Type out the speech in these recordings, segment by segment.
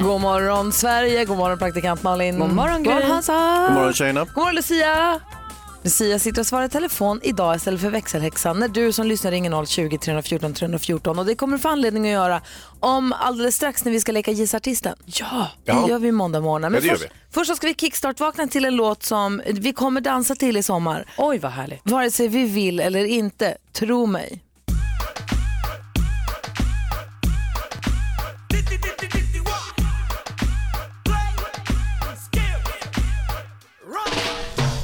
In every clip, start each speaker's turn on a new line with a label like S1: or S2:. S1: God morgon Sverige, god morgon praktikant Malin.
S2: God morgon, Gry.
S1: God morgon Hansa. God morgon,
S3: tjejerna.
S1: Lucia. Lucia sitter och svarar i telefon idag istället för växelhäxan när du som lyssnar ringer 020 314 314 och det kommer du få anledning att göra om alldeles strax när vi ska leka Gissa artisten. Ja, det
S3: Ja.
S1: gör vi måndag morgon.
S3: Ja, det gör
S1: först,
S3: vi.
S1: först så ska vi kickstart-vakna till en låt som vi kommer dansa till i sommar.
S4: Oj, vad härligt.
S1: Vare sig vi vill eller inte, tro mig.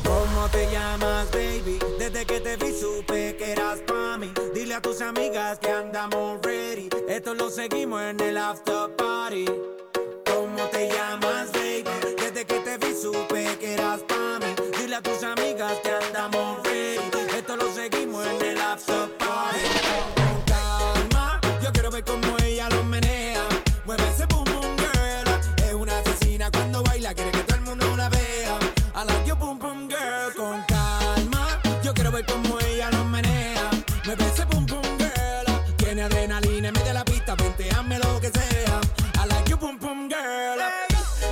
S5: ¿Cómo te llamas, baby? Desde que te vi supe que eras pa' mí. Dile a tus amigas que andamos ready. Esto lo seguimos en el after party. ¿Cómo te llamas, baby? Desde que te vi supe que eras pa' mí. Dile a tus amigas que andamos ready. Esto lo seguimos en el after party. Con calma, yo quiero ver cómo ella lo menea. Mueve ese boom boom girl. Es una asesina cuando baila, quiere que todo el mundo la vea. I like your boom boom girl. Con calma, yo quiero ver cómo ella lo menea. Mueve ese boom boom girl. Tiene adrenalina en medio de la pista, hazme lo que sea. I like your boom boom girl.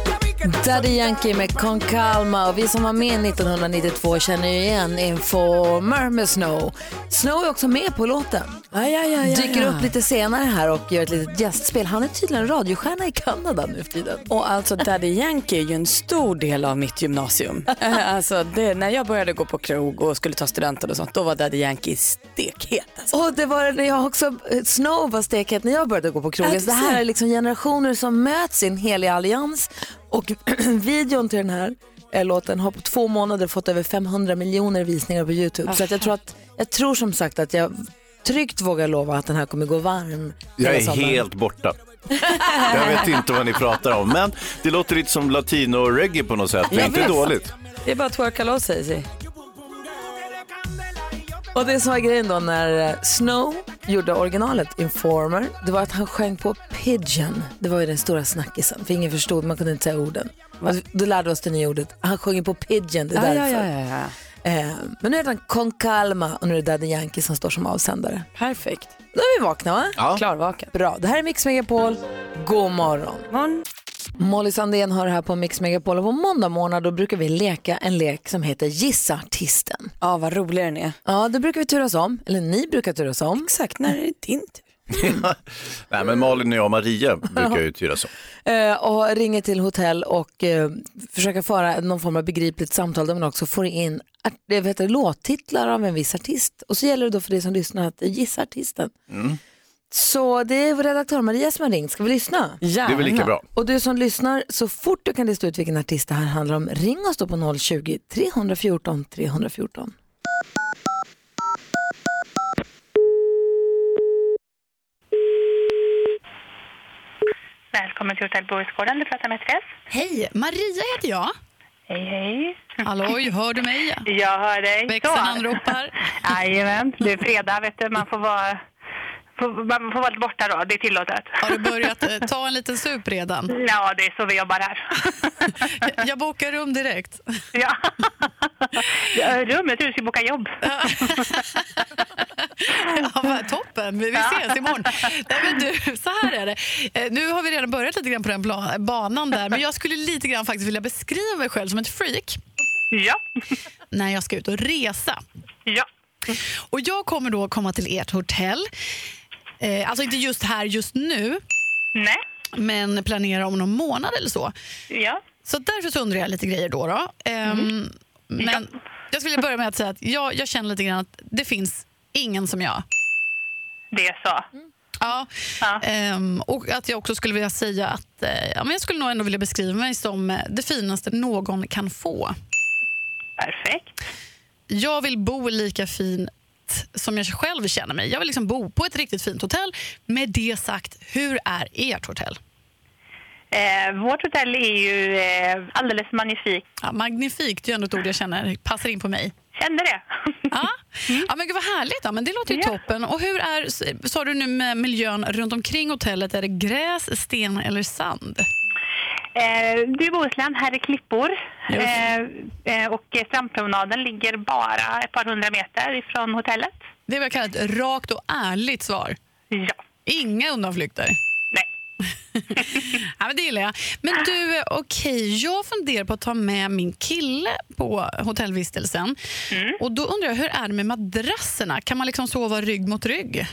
S5: Ya vi que estás
S1: Daddy
S5: solita,
S1: Yankee med Con Calma och vi som var med 1992 känner ju igen Informer med Snow. Snow är också med på låten.
S4: Aj, aj, aj,
S1: Dyker upp lite senare här och gör ett litet gästspel. Han är tydligen radiostjärna i Kanada nu för tiden.
S4: Och alltså Daddy Yankee är ju en stor del av mitt gymnasium. Eh, alltså det, när jag började gå på krog och skulle ta studenten och sånt, då var Daddy Yankee stekhet. Alltså.
S1: Och det var när jag också, eh, Snow var stekhet när jag började gå på krogen. Så det här är liksom generationer som möts i en helig allians. Och videon till den här eh, låten har på två månader fått över 500 miljoner visningar på Youtube. Så att jag, tror att, jag tror som sagt att jag tryggt vågar lova att den här kommer gå varm.
S3: Jag
S1: hela
S3: är
S1: sommaren.
S3: helt borta. Jag vet inte vad ni pratar om, men det låter lite som latino-reggae på något sätt. Det är
S4: Jag
S3: inte
S4: vet.
S3: dåligt.
S4: Det är bara att twerka loss Hazy.
S1: Och det som var grejen då när eh, Snow gjorde originalet Informer, det var att han sjöng på Pigeon. Det var ju den stora snackisen, för ingen förstod, man kunde inte säga orden. Och då lärde vi oss det nya ordet. Han sjöng ju på Pigeon, det är
S4: Ja,
S1: därför.
S4: ja, ja, ja, ja.
S1: Eh, men nu heter han Con Calma och nu är det Daddy Yankee som står som avsändare.
S4: Perfekt.
S1: Nu är vi vakna va?
S3: Ja.
S4: Klarvaken.
S1: Bra, det här är Mix Megapol. God morgon.
S4: Morgon.
S1: Molly Sandén hör här på Mix Megapol och på måndag morgon då brukar vi leka en lek som heter Gissa artisten.
S4: Ja, vad rolig den är.
S1: Ja, då brukar vi turas om, eller ni brukar turas om.
S4: Exakt, när är det din tur?
S3: Nej, men Malin och jag, Maria, brukar ju tyra så.
S1: Eh, och ringer till hotell och eh, försöker föra någon form av begripligt samtal där man också får in art- eh, vad heter det, låttitlar av en viss artist. Och så gäller det då för dig som lyssnar att gissa artisten. Så det är vår redaktör Maria som har ringt. Ska vi lyssna?
S4: Gärna.
S3: Det är väl lika bra.
S1: Och du som lyssnar, så fort du kan lista ut vilken artist det här handlar om, ring oss då på 020-314 314.
S6: Välkommen till Hotell Bohusgården, du pratar med Therese.
S7: Hej, Maria heter jag.
S6: Hej, hej.
S7: Halloj, hör du mig?
S6: Jag hör dig.
S7: Växeln
S6: Så.
S7: anropar.
S6: Jajamän, det är fredag vet du, man får vara, får, man får vara lite borta då, det är tillåtet.
S7: Har du börjat eh, ta en liten sup redan?
S6: Ja, det är så vi jobbar här.
S7: Jag- Jag bokar rum direkt.
S6: ja. Ja, Rummet, du ska boka jobb.
S7: Ja, vad toppen, vi vi ses imorgon. Nej, men du, så här är det. Eh, Nu har vi redan börjat lite grann på den bla- banan där, men jag skulle lite grann faktiskt vilja beskriva mig själv som ett freak
S6: Ja,
S7: när jag ska ut och resa.
S6: ja.
S7: Och jag kommer då komma till ert hotell. Eh, Alltså inte just här just nu,
S6: Nej,
S7: men planera om någon månad eller så.
S6: ja. Mm.
S7: Så därför så undrar jag lite grejer då. då. Ehm, Men jag skulle börja med att säga att jag, jag känner lite grann att det finns ingen som jag.
S6: Det är så.
S7: Ja.
S6: Ja.
S7: Ehm, och att jag också skulle vilja säga att eh, ja, men jag skulle nog ändå vilja beskriva mig som eh, det finaste någon kan få.
S6: Perfekt.
S7: Jag vill bo lika fint som jag själv känner mig. Jag vill liksom bo på ett riktigt fint hotell. Med det sagt, hur är ert hotell?
S6: Eh, vårt hotell är ju eh, alldeles magnifikt.
S7: Ja, magnifikt är ju ändå ett ord jag känner passar in på mig.
S6: Känner det. Mm.
S7: ja. ja, men gud vad härligt. Ja, men det låter ju toppen. Och hur är, s- sa du nu med miljön runt omkring hotellet? Är det gräs, sten eller sand?
S6: Eh, du är Bohuslän, här är klippor. Eh, eh, och eh, strandpromenaden ligger bara ett par hundra meter ifrån hotellet.
S7: Det är vad jag kallar ett rakt och ärligt svar.
S6: Ja.
S7: Inga undanflykter?
S6: Nej.
S7: ja, men det gillar jag. Men du, eh, okej, jag funderar på att ta med min kille på hotellvistelsen.
S6: Mm.
S7: Och då undrar jag, hur är det med madrasserna? Kan man liksom sova rygg mot rygg?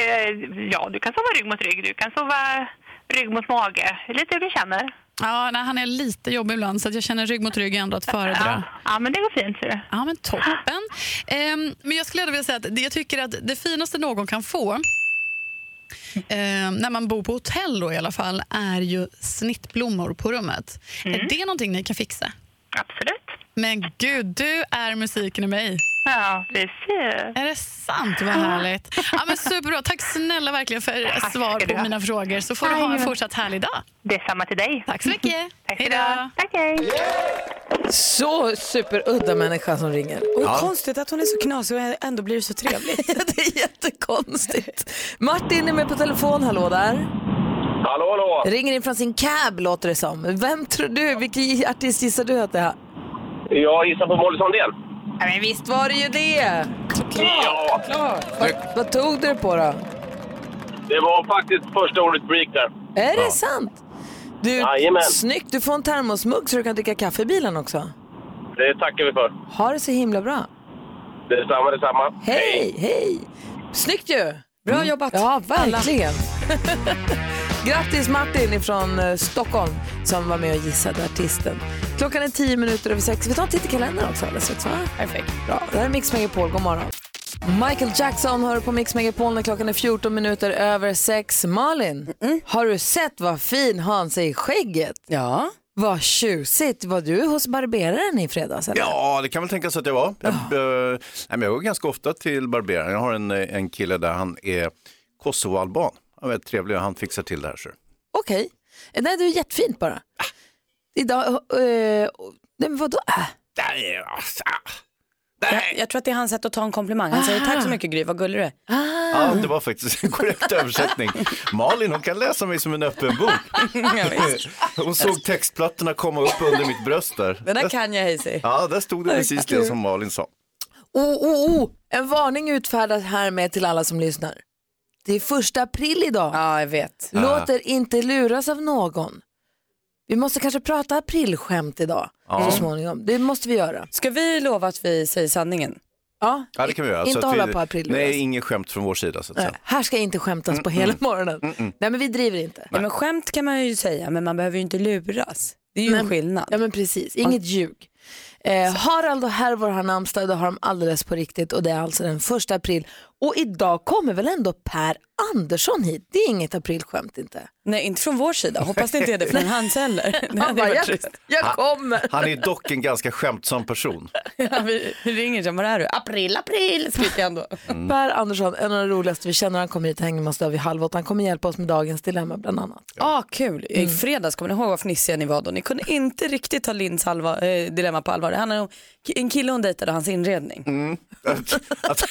S6: Eh, ja, du kan sova rygg mot rygg. Du kan sova rygg mot mage. Lite hur du känner.
S7: Ja, nej, han är lite jobbig ibland så att jag känner rygg mot rygg är ändå att föredra.
S6: Ja, men det går fint. Ser du.
S7: Ja, men toppen. Ehm, men jag skulle ändå vilja säga att det- jag tycker att det finaste någon kan få ehm, när man bor på hotell då i alla fall är ju snittblommor på rummet. Är det någonting ni kan fixa?
S6: Mm. Absolut.
S7: Men gud, du är musiken i mig.
S6: Ja, precis.
S7: Är det sant? Vad härligt. Ja, men superbra. Tack snälla verkligen för svar
S6: ska du
S7: på
S6: ha.
S7: mina frågor. Så får du ha en
S6: Jajamän.
S7: fortsatt härlig dag.
S6: Detsamma till dig.
S7: Tack så mycket.
S6: Tack ska
S7: Hej
S6: du
S7: då.
S6: ha. Tack, hej.
S1: Så superudda människa som ringer.
S4: Och konstigt att hon är så knasig och ändå blir det så trevligt.
S1: det är jättekonstigt. Martin är med på telefon, hallå där.
S8: Hallå, hallå!
S1: Ringer in från sin cab låter det som. Vem tror du, vilken artist gissar du att det är?
S8: Jag gissar på Molly Sandén.
S1: Ja, men visst var det ju det!
S8: Ja.
S1: Vad, vad tog du det på då?
S8: Det var faktiskt första ordet break där.
S1: Är det sant? Du,
S8: Jajamän.
S1: snyggt, du får en termosmugg så du kan dricka kaffe i bilen också.
S8: Det tackar vi för.
S1: Ha det så himla bra.
S8: Detsamma, detsamma.
S1: Hej, hej! Snyggt ju!
S4: Bra jobbat.
S1: Ja, verkligen. Grattis Martin ifrån eh, Stockholm som var med och gissade artisten. Klockan är tio minuter över sex. Vi tar en titt i kalendern också alldeles strax. Perfekt. Bra. Det här är Mix Megapol. God morgon. Michael Jackson hör på Mix Megapol när klockan är 14 minuter över sex. Malin, har du sett vad fin Hans är i skägget?
S4: Ja.
S1: Vad tjusigt. Var du hos barberaren i fredags? Eller?
S3: Ja, det kan väl tänkas att jag var. Jag, eh, nej, men jag går ganska ofta till barberaren. Jag har en, eh, en kille där han är kosovoalban. Han är väldigt trevlig och han fixar till det här. Så.
S1: Okej. Eh, Nej, du är jättefint bara. Idag... eh, eh, nej, men vadå? Äh.
S3: alltså,
S4: Jag, jag tror att det är hans sätt att ta en komplimang. Han säger tack så mycket Gry, vad gullig du är.
S1: Ah.
S3: Ja, det var faktiskt en korrekt översättning. Malin, hon kan läsa mig som en öppen bok. Hon såg textplattorna komma upp under mitt bröst där.
S4: Den där kan jag Hayes.
S3: Ja, där stod det precis det som Malin sa.
S1: Oh, oh, oh. En varning utfärdas härmed till alla som lyssnar. Det är första april idag.
S4: Ja, jag vet.
S1: Låt er inte luras av någon. Vi måste kanske prata aprilskämt idag
S3: Ja.
S1: så småningom. Det måste vi göra.
S4: Ska vi lova att vi säger sanningen?
S1: Ja,
S3: Ja, det kan vi göra.
S1: Inte
S3: att
S1: hålla
S3: vi,
S1: på april,
S3: Nej, Mm,
S1: alltså.
S3: inget skämt från vår sida så att
S1: nej,
S3: säga.
S1: här ska inte skämtas på hela morgonen. Nej men vi driver inte.
S4: Ja, men skämt kan man ju säga, men man behöver ju inte luras. Det är ju en skillnad.
S1: Ja men precis, inget ljug. Eh, Harald och Hervor har namnsdag, det har de alldeles på riktigt och det är alltså den första april. Och idag kommer väl ändå Per Andersson hit? Det är inget aprilskämt inte.
S4: Nej, inte från vår sida. Hoppas det inte är det från hans heller. Det
S1: Han
S4: hade
S1: bara,
S4: varit
S1: jag,
S4: trist.
S1: jag kommer.
S3: Han är dock en ganska skämtsam person.
S4: Ja, vi vi ringer sen, var är du? April, april, skriker han då.
S1: Per Andersson, en av de roligaste vi känner, han kommer hit och hänger med oss då vid halv åtta. Han kommer hjälpa oss med dagens dilemma bland annat.
S4: Ja, ah, kul. I fredags, kommer ni ihåg vad fnissiga ni var då? Ni kunde inte riktigt ta Linns halva, eh, dilemma på allvar. Det handlar om ki- en kille hon dejtade och hans inredning.
S3: Att, att,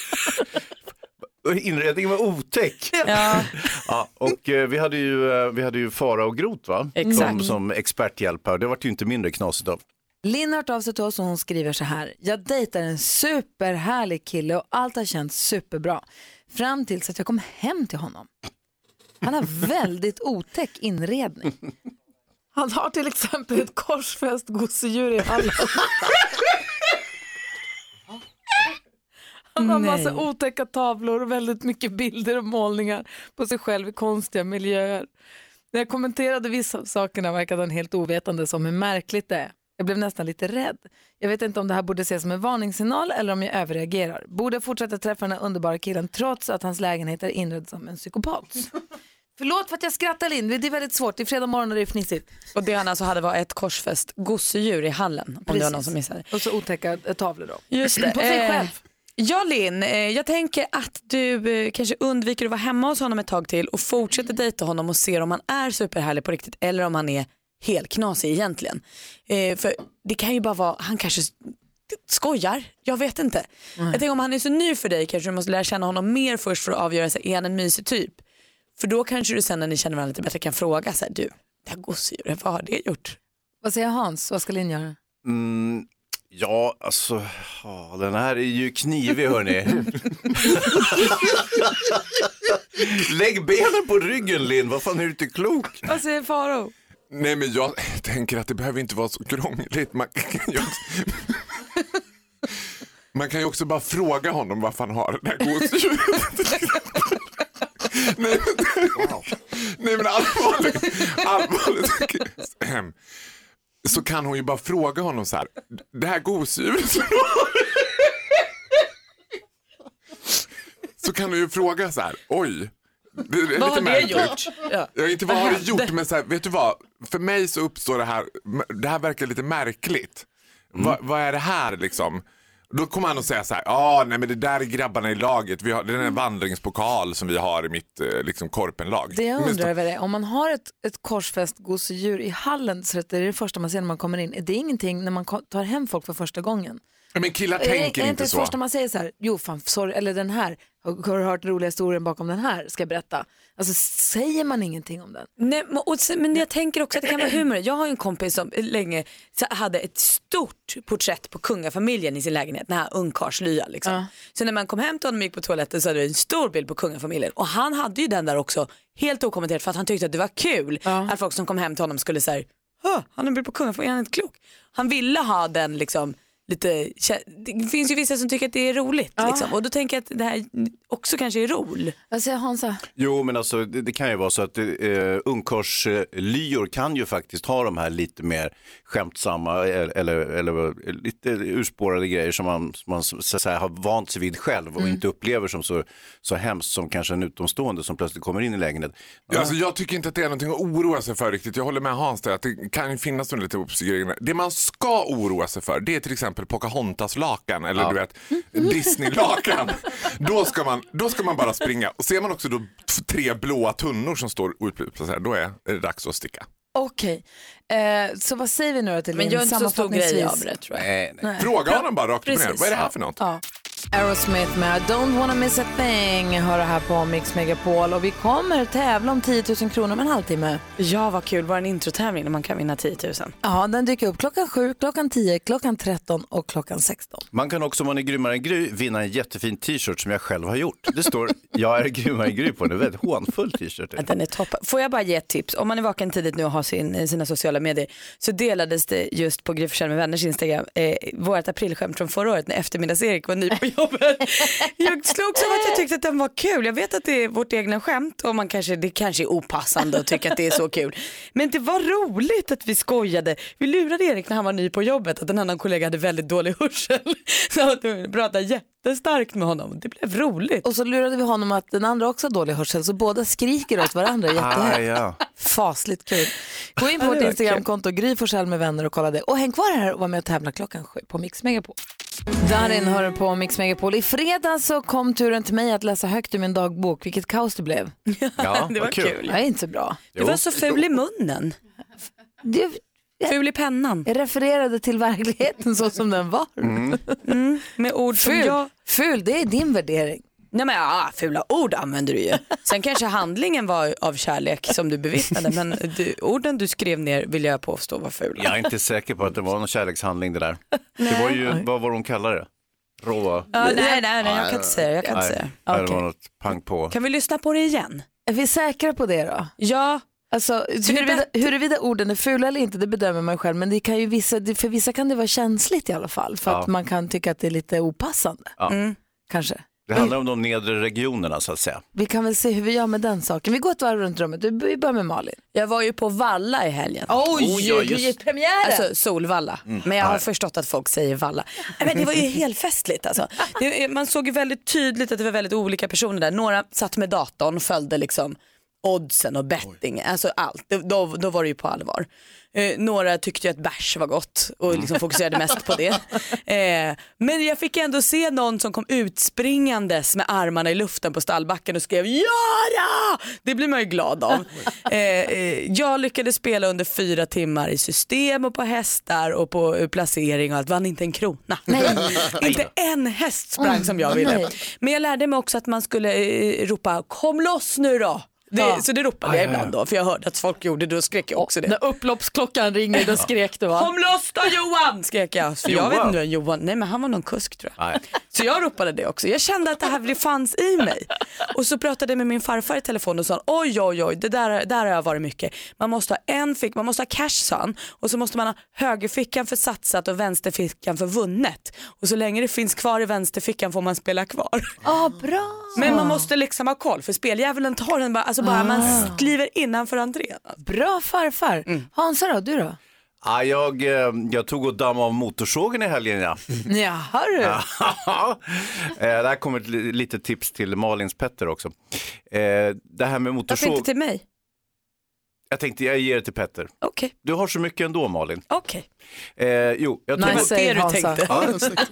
S3: inredningen var otäck.
S4: Ja,
S3: Ja, och eh, vi hade ju, eh, vi hade ju Fara och Grot va? Som,
S4: Exakt.
S3: som experthjälp här. Det vart ju inte mindre knasigt av.
S1: Linn har hört av sig till oss och hon skriver så här. Jag dejtar en superhärlig kille och allt har känts superbra. Fram tills att jag kom hem till honom. Han har väldigt otäck inredning. Han har till exempel ett korsfäst gosedjur i hallen. Han har massa otäcka tavlor och väldigt mycket bilder och målningar på sig själv i konstiga miljöer. När jag kommenterade vissa av sakerna verkade han helt ovetande om hur märkligt det är. Jag blev nästan lite rädd. Jag vet inte om det här borde ses som en varningssignal eller om jag överreagerar. Borde jag fortsätta träffa den här underbara killen trots att hans lägenhet är inredd som en psykopats? Förlåt för att jag skrattar Linn, det är väldigt svårt. Det är fredag morgon och det är fnissigt.
S4: och det han alltså hade var ett korsfäst gosedjur i hallen, om det var någon
S1: Precis.
S4: som missade.
S1: Och så otäcka eh, tavlor då.
S4: Just det.
S1: På sig
S4: eh,
S1: själv.
S4: Ja, Linn, eh, jag tänker att du eh, kanske undviker att vara hemma hos honom ett tag till och
S1: Mm.
S4: fortsätter dejta honom och ser om han är superhärlig på riktigt eller om han är helt knasig egentligen. Eh, för det kan ju bara vara, han kanske s- skojar, jag vet inte. Jag tänker om han är så ny för dig kanske du måste lära känna honom mer först för att avgöra, så här, är han en mysig typ? För då kanske du sen när ni känner varandra lite bättre kan fråga, så här, du, det här gosedjuret, vad har det gjort?
S1: Vad säger Hans? Vad ska Linn göra?
S3: Mm, ja, alltså, ja, den här är ju knivig hörni. Lägg benen på ryggen Linn, vad fan är du inte klok?
S1: Vad säger Faro?
S9: Nej men jag tänker att det behöver inte vara så krångligt. Man kan ju, man kan ju också bara fråga honom varför han har det där gosedjuret. Nej, men- Nej men allvarligt, allvarligt. Ehm, Så kan hon ju bara fråga honom så här. Det här gosedjuret som du har. Så kan du ju fråga så här. Oj. Det är
S5: Vad
S9: lite
S5: har det
S9: märkligt.
S5: gjort? Ja.
S9: Ja, inte vad
S5: Vad
S9: har det
S5: hände?
S9: gjort, men så här, vet du vad? För mig så uppstår det här, det här verkar lite märkligt. Va, vad är det här liksom? Då kommer han att säga så här, ah, nej men det där är grabbarna i laget, vi har, det är en vandringspokal som vi har i mitt eh, liksom, korpenlag.
S1: Det jag
S9: Men-
S1: undrar över är, om man har ett, ett korsfäst gosedjur i hallen så att det är det första man ser när man kommer in. Är det ingenting när man ko- tar hem folk för första gången?
S9: Ja, Men killar
S1: är,
S9: tänker
S1: är
S9: inte
S1: det
S9: så.
S1: första man säger så här, jo fan, sorry, eller den här, har du hört roliga historien bakom den här, ska jag berätta. Alltså säger man ingenting om den?
S4: Nej, men- och sen, men jag tänker också att det kan vara humor. Jag har ju en kompis som länge så- hade ett stort porträtt på kungafamiljen i sin lägenhet, den här ungkarlslya. Liksom. Så när man kom hem till honom och gick på toaletten så hade vi en stor bild på kungafamiljen. Och han hade ju den där också helt okommenterat för att han tyckte att det var kul att folk som kom hem till honom skulle säga, han har en bild på kungafamiljen, han är inte klok. Han ville ha den liksom lite, det finns ju vissa som tycker att det är roligt liksom. och då tänker jag att det här också kanske är rol.
S1: Vad säger Hansa?
S3: Jo, men alltså det, det kan ju vara så att eh, ungkarlslyor kan ju faktiskt ha de här lite mer skämtsamma eh, eller, eller lite urspårade grejer som man, som man så att säga, har vant sig vid själv och inte upplever som så, så hemskt som kanske en utomstående som plötsligt kommer in i lägenheten.
S9: Ja, Alltså, jag tycker inte att det är någonting att oroa sig för riktigt. Jag håller med Hans där att det kan ju finnas de lite obskyra grejerna. Det man ska oroa sig för det är till exempel Pocahontas-lakan eller du vet Disney-lakan. då, ska man, då ska man bara springa. Och ser man också då t- tre blåa tunnor som står utpluppade så här, då är det dags att sticka.
S1: Okej, eh, så vad säger vi nu då till
S4: Men
S1: Linn?
S4: gör inte så stor grej
S1: Sammanfattningsvis.
S4: av det tror jag.
S1: Nej.
S9: Fråga honom bara rakt upp och ner.
S1: Precis.
S9: Vad är det här för något?
S1: Ja. Aerosmith med I Don't wanna miss a thing hör det här på Mix Megapol och vi kommer tävla om 10 000 kronor om en halvtimme.
S4: Ja, vad kul. Var en introtävling när man kan vinna 10 000.
S1: Ja, den dyker upp klockan 7, klockan 10, klockan 13 och klockan 16.
S3: Man kan också om man är grymmare än Gry vinna en jättefin t-shirt som jag själv har gjort. Det står jag är grymmare än Gry på den, det är en väldigt hånfull t-shirt.
S4: Den är toppen. Får jag bara ge ett tips? Om man är vaken tidigt nu och har sin, sina sociala medier så delades det just på Gry Forssell med vänners Instagram eh, vårt aprilskämt från förra året när eftermiddags-Erik var ny på jobbet. jag slogs av att jag tyckte att den var kul. Jag vet att det är vårt egna skämt och man kanske, det kanske är opassande att tycka att det är så kul. Men det var roligt att vi skojade. Vi lurade Erik när han var ny på jobbet att en annan kollega hade väldigt dålig hörsel. så att vi pratade jättestarkt med honom. Det blev roligt.
S1: Och så lurade vi honom att den andra också har dålig hörsel så båda skriker åt varandra jättehögt.
S3: Ah, ja.
S1: Fasligt kul. Gå in på
S10: Ja,
S1: vårt
S10: det var
S1: Instagramkonto, Gry Forssell med vänner och kolla det. Och häng kvar här och var med och tävla klockan sju på Mix Megapol. Darin hör du på Mix Megapol. I fredags så kom turen till mig att läsa högt ur min dagbok. Vilket kaos det blev.
S4: Ja, det var kul. kul.
S1: Det är inte så bra.
S4: Du var så ful i munnen.
S1: Det,
S4: Ful i pennan.
S1: Jag refererade till verkligheten så som den var.
S11: Mm.
S4: Mm, med ord som
S1: ful,
S4: jag-
S1: Ful, det är din värdering.
S4: Nej men ja, fula ord använder du ju. Sen kanske handlingen var av kärlek som du bevittnade men du, orden du skrev ner vill jag påstå var fula.
S3: Jag är inte säker på att det var någon kärlekshandling det där. Det var ju, vad var det hon kallade det? Råa?
S4: Ja, nej, nej, nej, jag kan inte säga det, jag kan
S3: Nej,
S4: inte säga det.
S3: nej, Det
S4: Okej.
S3: var något pang på.
S4: Kan vi lyssna på det igen?
S1: Är vi säkra på det då?
S4: Ja.
S1: Alltså, huruvida, huruvida orden är fula eller inte, det bedömer man själv. Men det kan ju vissa, det- för vissa kan det vara känsligt i alla fall. För
S3: Ja.
S1: att man kan tycka att det är lite opassande.
S3: Ja.
S4: Mm.
S1: Kanske.
S3: Det handlar om de nedre regionerna så att säga.
S1: Vi kan väl se hur vi gör med den saken. Vi går ett varv runt rummet. Du- Vi börjar med Malin.
S4: Jag var ju på Valla i helgen.
S1: Oj, Oj, ja, du just- gick premiären.
S4: Alltså Solvalla.
S1: Mm.
S4: Men jag har
S1: Nej.
S4: förstått att folk säger Valla. Nej, Men det var ju helt festligt alltså. det, Man såg ju väldigt tydligt att det var väldigt olika personer där. Några satt med datorn, följde liksom oddsen och betting, alltså allt. Då- Då, då var det ju på allvar. Eh, några tyckte ju att bärs var gott och liksom fokuserade mest på det. Eh, men jag fick ändå se någon som kom utspringandes med armarna i luften på stallbacken och skrev göra! Det blir man ju glad av. Eh, eh, jag lyckades spela under fyra timmar i system och på hästar och på eh, placering och allt, vann inte en krona. inte en häst sprang som jag ville.
S1: Nej.
S4: Men jag lärde mig också att man skulle eh, ropa kom loss nu då. Det,
S12: Ja.
S4: Så det ropade jag ibland då för jag hörde att folk gjorde det och skrek jag också det.
S12: När upploppsklockan ringer då skrek du va?
S4: Kom loss då Johan! Skrek jag. Så jag
S12: Johan?
S4: vet inte vem Johan, nej men han var någon kusk tror jag. Så jag ropade det också. Jag kände att det här det fanns i mig. Och så pratade jag med min farfar i telefon och sa oj oj oj, det där, där har jag varit mycket. Man måste ha en fick, man måste ha cash sa han. Och så måste man ha högerfickan för satsat och vänsterfickan för vunnet. Och så länge det finns kvar i vänsterfickan får man spela kvar.
S12: Ja, bra.
S4: Men man måste liksom ha koll för speldjävulen tar den bara, alltså bara man kliver innanför entrén.
S1: Bra farfar. Hansa då, du då?
S3: Ja, jag, eh, jag tog och damm av motorsågen i helgen. Ja.
S1: Jaha du.
S3: Eh, Där kommer ett li- litet tips till Malins Petter också. Eh, Det här med
S4: Varför
S3: motorsåg.
S4: inte till mig?
S3: Jag tänkte jag ger det till Petter.
S4: Okej.
S3: Du har så mycket ändå Malin.
S4: Okej.
S3: Eh, jo, jag
S4: Nej,
S3: tog,
S4: säg Det du Hansa. tänkte.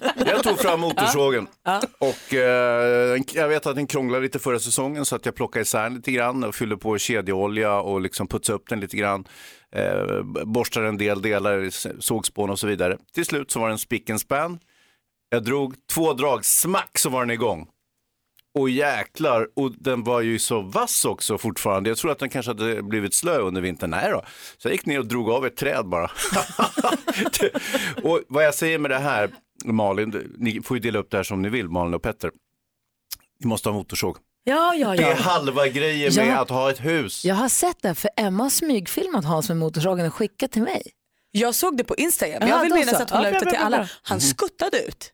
S3: Ja, jag tog fram motorsågen.
S4: Ja.
S3: Och, eh, den- jag vet att den krånglade lite förra säsongen så att jag plockade isär den lite grann och fyllde på kedjeolja och liksom putsade upp den lite grann. Eh, borstade en del delar, s- sågspån och så vidare. Till slut så var den spick and span. Jag drog två drag, smack så var den igång. Och jäklar, och den var ju så vass också fortfarande. Jag tror att den kanske hade blivit slö under vintern. Nej då. Så jag gick ner och drog av ett träd bara. och vad jag säger med det här, Malin, du- ni får ju dela upp det här som ni vill, Malin och Petter. Ni måste ha motorsåg.
S1: Ja, ja,
S3: Det
S1: ja.
S3: är halva grejen med
S1: Ja.
S3: att ha ett hus.
S1: Jag har sett det, för Emma har smygfilmat Hans med motorsågen och skickat till mig.
S4: Jag såg det på Instagram. Men
S1: Ja,
S4: jag vill
S1: då
S4: minnas
S1: så.
S4: att hon
S1: Ja,
S4: la ut
S1: bra,
S4: det till
S1: bra, bra,
S4: alla.
S1: bra.
S4: Han
S1: Mhm.
S4: skuttade ut.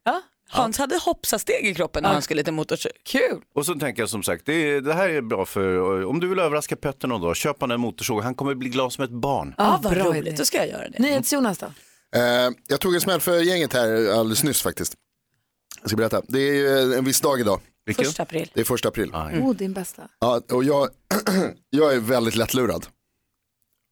S4: Hans hade hoppsasteg i kroppen när han skulle till motorsåg. Kul!
S3: Och så tänker jag som sagt, det, det här är bra för, om du vill överraska Petter någon dag, köp han en motorsåg. Han kommer bli glad som ett barn.
S1: Ja, vad
S4: bra
S1: roligt.
S4: Då ska jag göra det.
S1: NyhetsJonas då?
S13: Eh, jag tog en smäll för gänget här alldeles nyss faktiskt. Jag ska berätta. Det är ju eh, en viss dag idag.
S4: Vilken? Första april.
S13: Det är första april.
S1: Ah, Mm.
S13: Mm.
S2: Oh, din bästa.
S13: Ja, och jag, jag är väldigt lättlurad.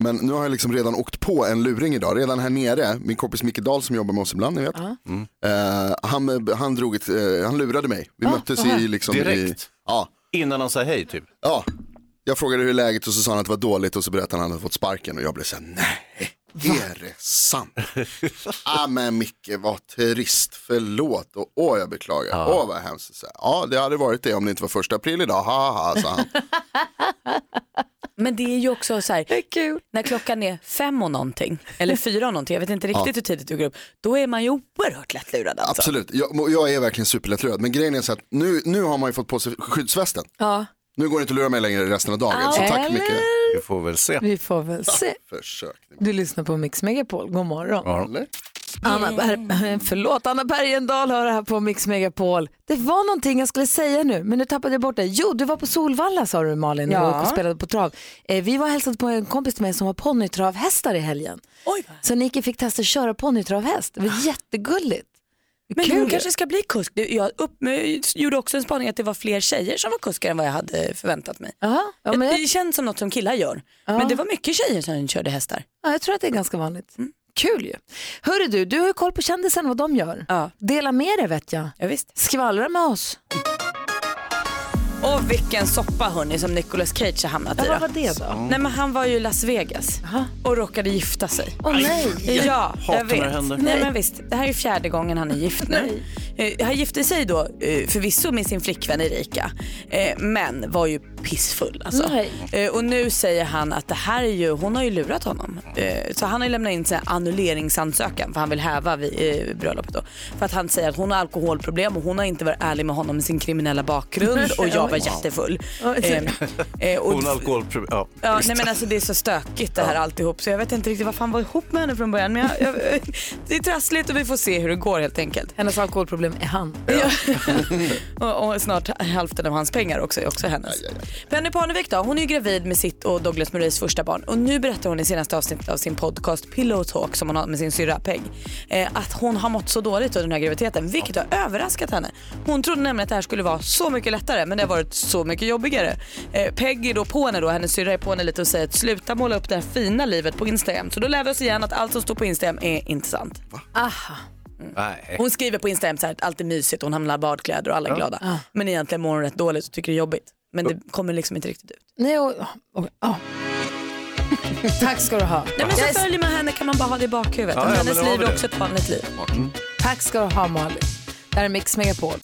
S13: Men nu har jag liksom redan åkt på en luring idag. Redan här nere, min kompis Micke Dahl som jobbar med oss ibland, ni vet.
S3: Mm.
S4: Mm.
S13: Eh, han, han, drog ett, eh, han lurade mig.
S4: Ah,
S13: Vi möttes
S3: vad
S13: i...
S3: här?
S13: Liksom,
S3: Direkt?
S13: I, ja.
S3: Innan han sa hej typ?
S13: Ja. Jag frågade hur läget och så sa han att det var dåligt och så berättade han att han hade fått sparken och jag blev så här, nej, är det sant? ah, men Micke, vad trist, förlåt och åh jag beklagar, åh vad hemskt. Så, här, ja, det hade varit det om det inte var första april idag, ha ha, ha, sa han.
S4: Men det är ju också så här, när klockan är fem och någonting, eller fyra och någonting, jag vet inte riktigt
S13: Ja.
S4: hur tidigt du går upp, då är man ju oerhört lättlurad alltså.
S13: Absolut, jag, jag är verkligen superlättlurad. Men grejen är så att nu, nu har man ju fått på sig skyddsvästen.
S1: Ja.
S13: Nu går det inte att lura mig längre resten av dagen. Så tack Micke.
S3: Vi får väl se.
S1: Vi får väl se.
S13: Försök.
S1: Du lyssnar på Mix Megapol, god morgon.
S13: Eller?
S1: Anna, Ber- förlåt, Anna Bergendahl hör det här på Mix Megapol. Det var någonting jag skulle säga nu, men nu tappade jag bort det. Jo, du var på Solvalla sa du Malin
S12: Ja.
S1: och gick och spelade på trav. Eh, vi var och hälsade på en kompis till mig som var ponnytravhästare i helgen.
S4: Oj. Ah.
S1: Så Niki fick testa att köra ponnytravhäst. Det var jättegulligt.
S4: Men
S1: Kul.
S4: hon kanske ska bli kusk. Du, Jag upp, jag gjorde också en spaning att det var fler tjejer som var kuskar än vad jag hade förväntat mig.
S1: ja, men jag-
S4: Det känns som något som killar gör. Men det var mycket tjejer som körde hästar.
S1: Ja, jag tror att det är ganska vanligt.
S4: Mm.
S1: Kul ju. Hörru du, du har ju koll på kändisen vad de gör. Dela med dig vet jag.
S4: Ja, visst.
S1: Skvallra med oss.
S4: Och vilken soppa hörni som Nicolas Cage har hamnat
S1: Ja,
S4: i.
S1: vad var det då?
S4: Nej men han var ju i Las Vegas och råkade gifta sig.
S1: Åh, nej. Jag
S4: Ja,
S1: hatar
S4: jag
S1: när det
S4: vet.
S1: händer.
S4: Nej men visst, det här är fjärde gången han är gift nu. Eh, Han gifte sig då eh, förvisso med sin flickvän Erika, eh, men var ju pissfull alltså.
S12: Nej.
S4: Eh, Och nu säger han att det här är ju, hon har ju lurat honom. Eh, Så han har ju lämnat in en annulleringsansökan för han vill häva vid, eh, bröllopet då. För att han säger att hon har alkoholproblem och hon har inte varit ärlig med honom med sin kriminella bakgrund och jag var
S3: Wow.
S4: jättefull.
S3: Oj.
S4: Eh, eh, och-
S3: Ehm, Hon har alkoholproblem. Ja.
S4: Ja, nej men alltså det är så stökigt det här alltihop så jag vet inte riktigt vad fan var ihop med henne från början men jag, jag, det är trassligt och vi får se hur det går helt enkelt.
S1: Hennes alkoholproblem är han.
S4: Och, och snart hälften av hans pengar också är också hennes. Penny Parnevik då, hon är ju gravid med sitt och Douglas Murrays första barn och nu berättar hon i senaste avsnittet av sin podcast Pillow Talk som hon har med sin syrra Peg eh, att hon har mått så dåligt under den här graviditeten vilket har överraskat henne. Hon trodde nämligen att det här skulle vara så mycket lättare men det har varit så mycket jobbigare. Eh, Peg är då på henne då, hennes syrra är på henne lite och säger att sluta måla upp det här fina livet på Instagram. Så då lär vi oss igen att allt som står på Instagram är inte sant.
S1: Aha.
S3: Nej.
S4: Hon skriver på Instagram så här att allt är mysigt, hon hamnar i badkläder och alla är
S1: Ja.
S4: glada.
S1: Ah.
S4: Men egentligen mår hon rätt dåligt och tycker det är jobbigt. Men det kommer liksom inte riktigt ut.
S1: Nej, och, och, ja. Tack ska du ha.
S4: Nej, men så följer man henne kan man bara ha det i bakhuvudet.
S1: Ja,
S4: Men
S1: ja,
S4: hennes
S1: men då har
S4: liv
S1: vi
S4: är
S1: det.
S4: också ett vanligt liv.
S1: Mm. Tack ska du ha Malin. Det här är Mix Megapol.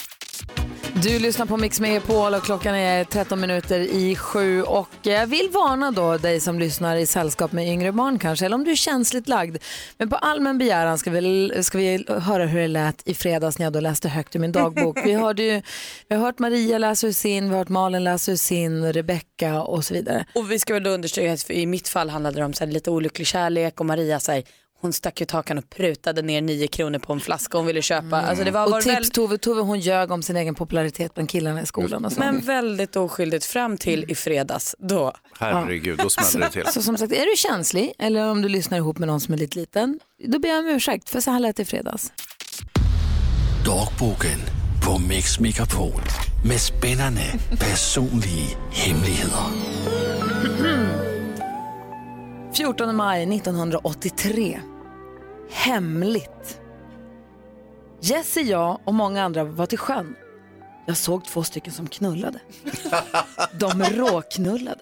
S1: Du lyssnar på Mix Megapol och klockan är 13 minuter i sju och eh, jag vill varna då dig som lyssnar i sällskap med yngre barn kanske, eller om du är känsligt lagd. Men på allmän begäran ska vi, ska vi höra hur det lät i fredags när jag då läste högt ur min dagbok. Vi, hörde ju, vi har hört Maria läsa ur sin, vi har hört Malin läsa ur sin, Rebecca och så vidare.
S4: Och vi ska väl då understryka att i mitt fall handlade det om så här, lite olycklig kärlek och Maria så här, hon stack ut hakan och prutade ner nio kronor på en flaska hon ville köpa. Alltså det var, var
S1: Mm. och tips
S4: väl-
S1: Tove, Tove hon ljög om sin egen popularitet bland killarna i skolan och så.
S4: men väldigt oskyldigt fram till i fredags då.
S3: Herregud, då smäller det till.
S1: Så som sagt, är du känslig eller om du lyssnar ihop med någon som är lite liten, då ber jag om ursäkt för så här lät det i fredags.
S11: Dogboken på Mix Megapol med spännande personlige hemmeligheder.
S1: 14 maj 1983. Hemligt. Jesse, jag och många andra var till sjön. Jag såg två stycken som knullade. De råknullade.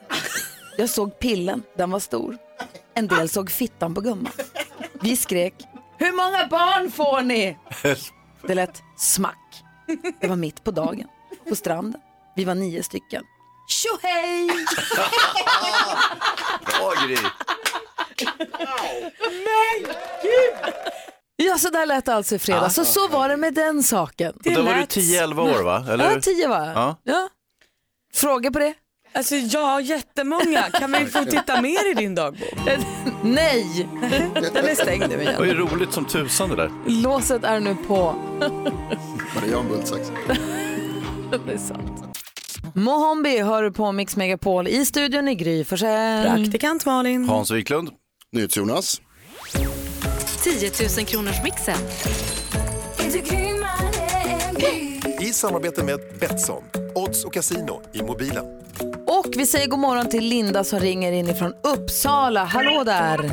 S1: Jag såg pillen, den var stor. En del såg fittan på gumman. Vi skrek, hur många barn får ni? Det lät smack. Det var mitt på dagen, på stranden. Vi var nio stycken. Tjohej!
S3: Bra Gry.
S1: Men gud! Ja, så där lät det alltså i fredags.
S3: Ah.
S1: Så, så var det med den saken.
S3: Och då var du 10-11 år va? Eller?
S1: Ja, 10 var jag.
S3: Ja.
S1: Ja. Fråga på det?
S4: Alltså ja, jättemånga. Kan vi få titta mer i din dagbok?
S1: Nej!
S4: Den är stängd nu
S3: Det var ju
S4: igen.
S3: roligt som tusan det där.
S1: Låset är nu på.
S13: Maria har en bultsax.
S1: det är sant. Mohombi hör du på Mix Megapol. I studion i Gry Forssell.
S4: Praktikant Malin.
S3: Hans Wiklund.
S13: NyhetsJonas.
S14: 10 000 kronors mixen.
S15: I samarbete med Betsson, odds och casino i mobilen.
S1: Och vi säger god morgon till Linda som ringer inifrån Uppsala. Hallå där!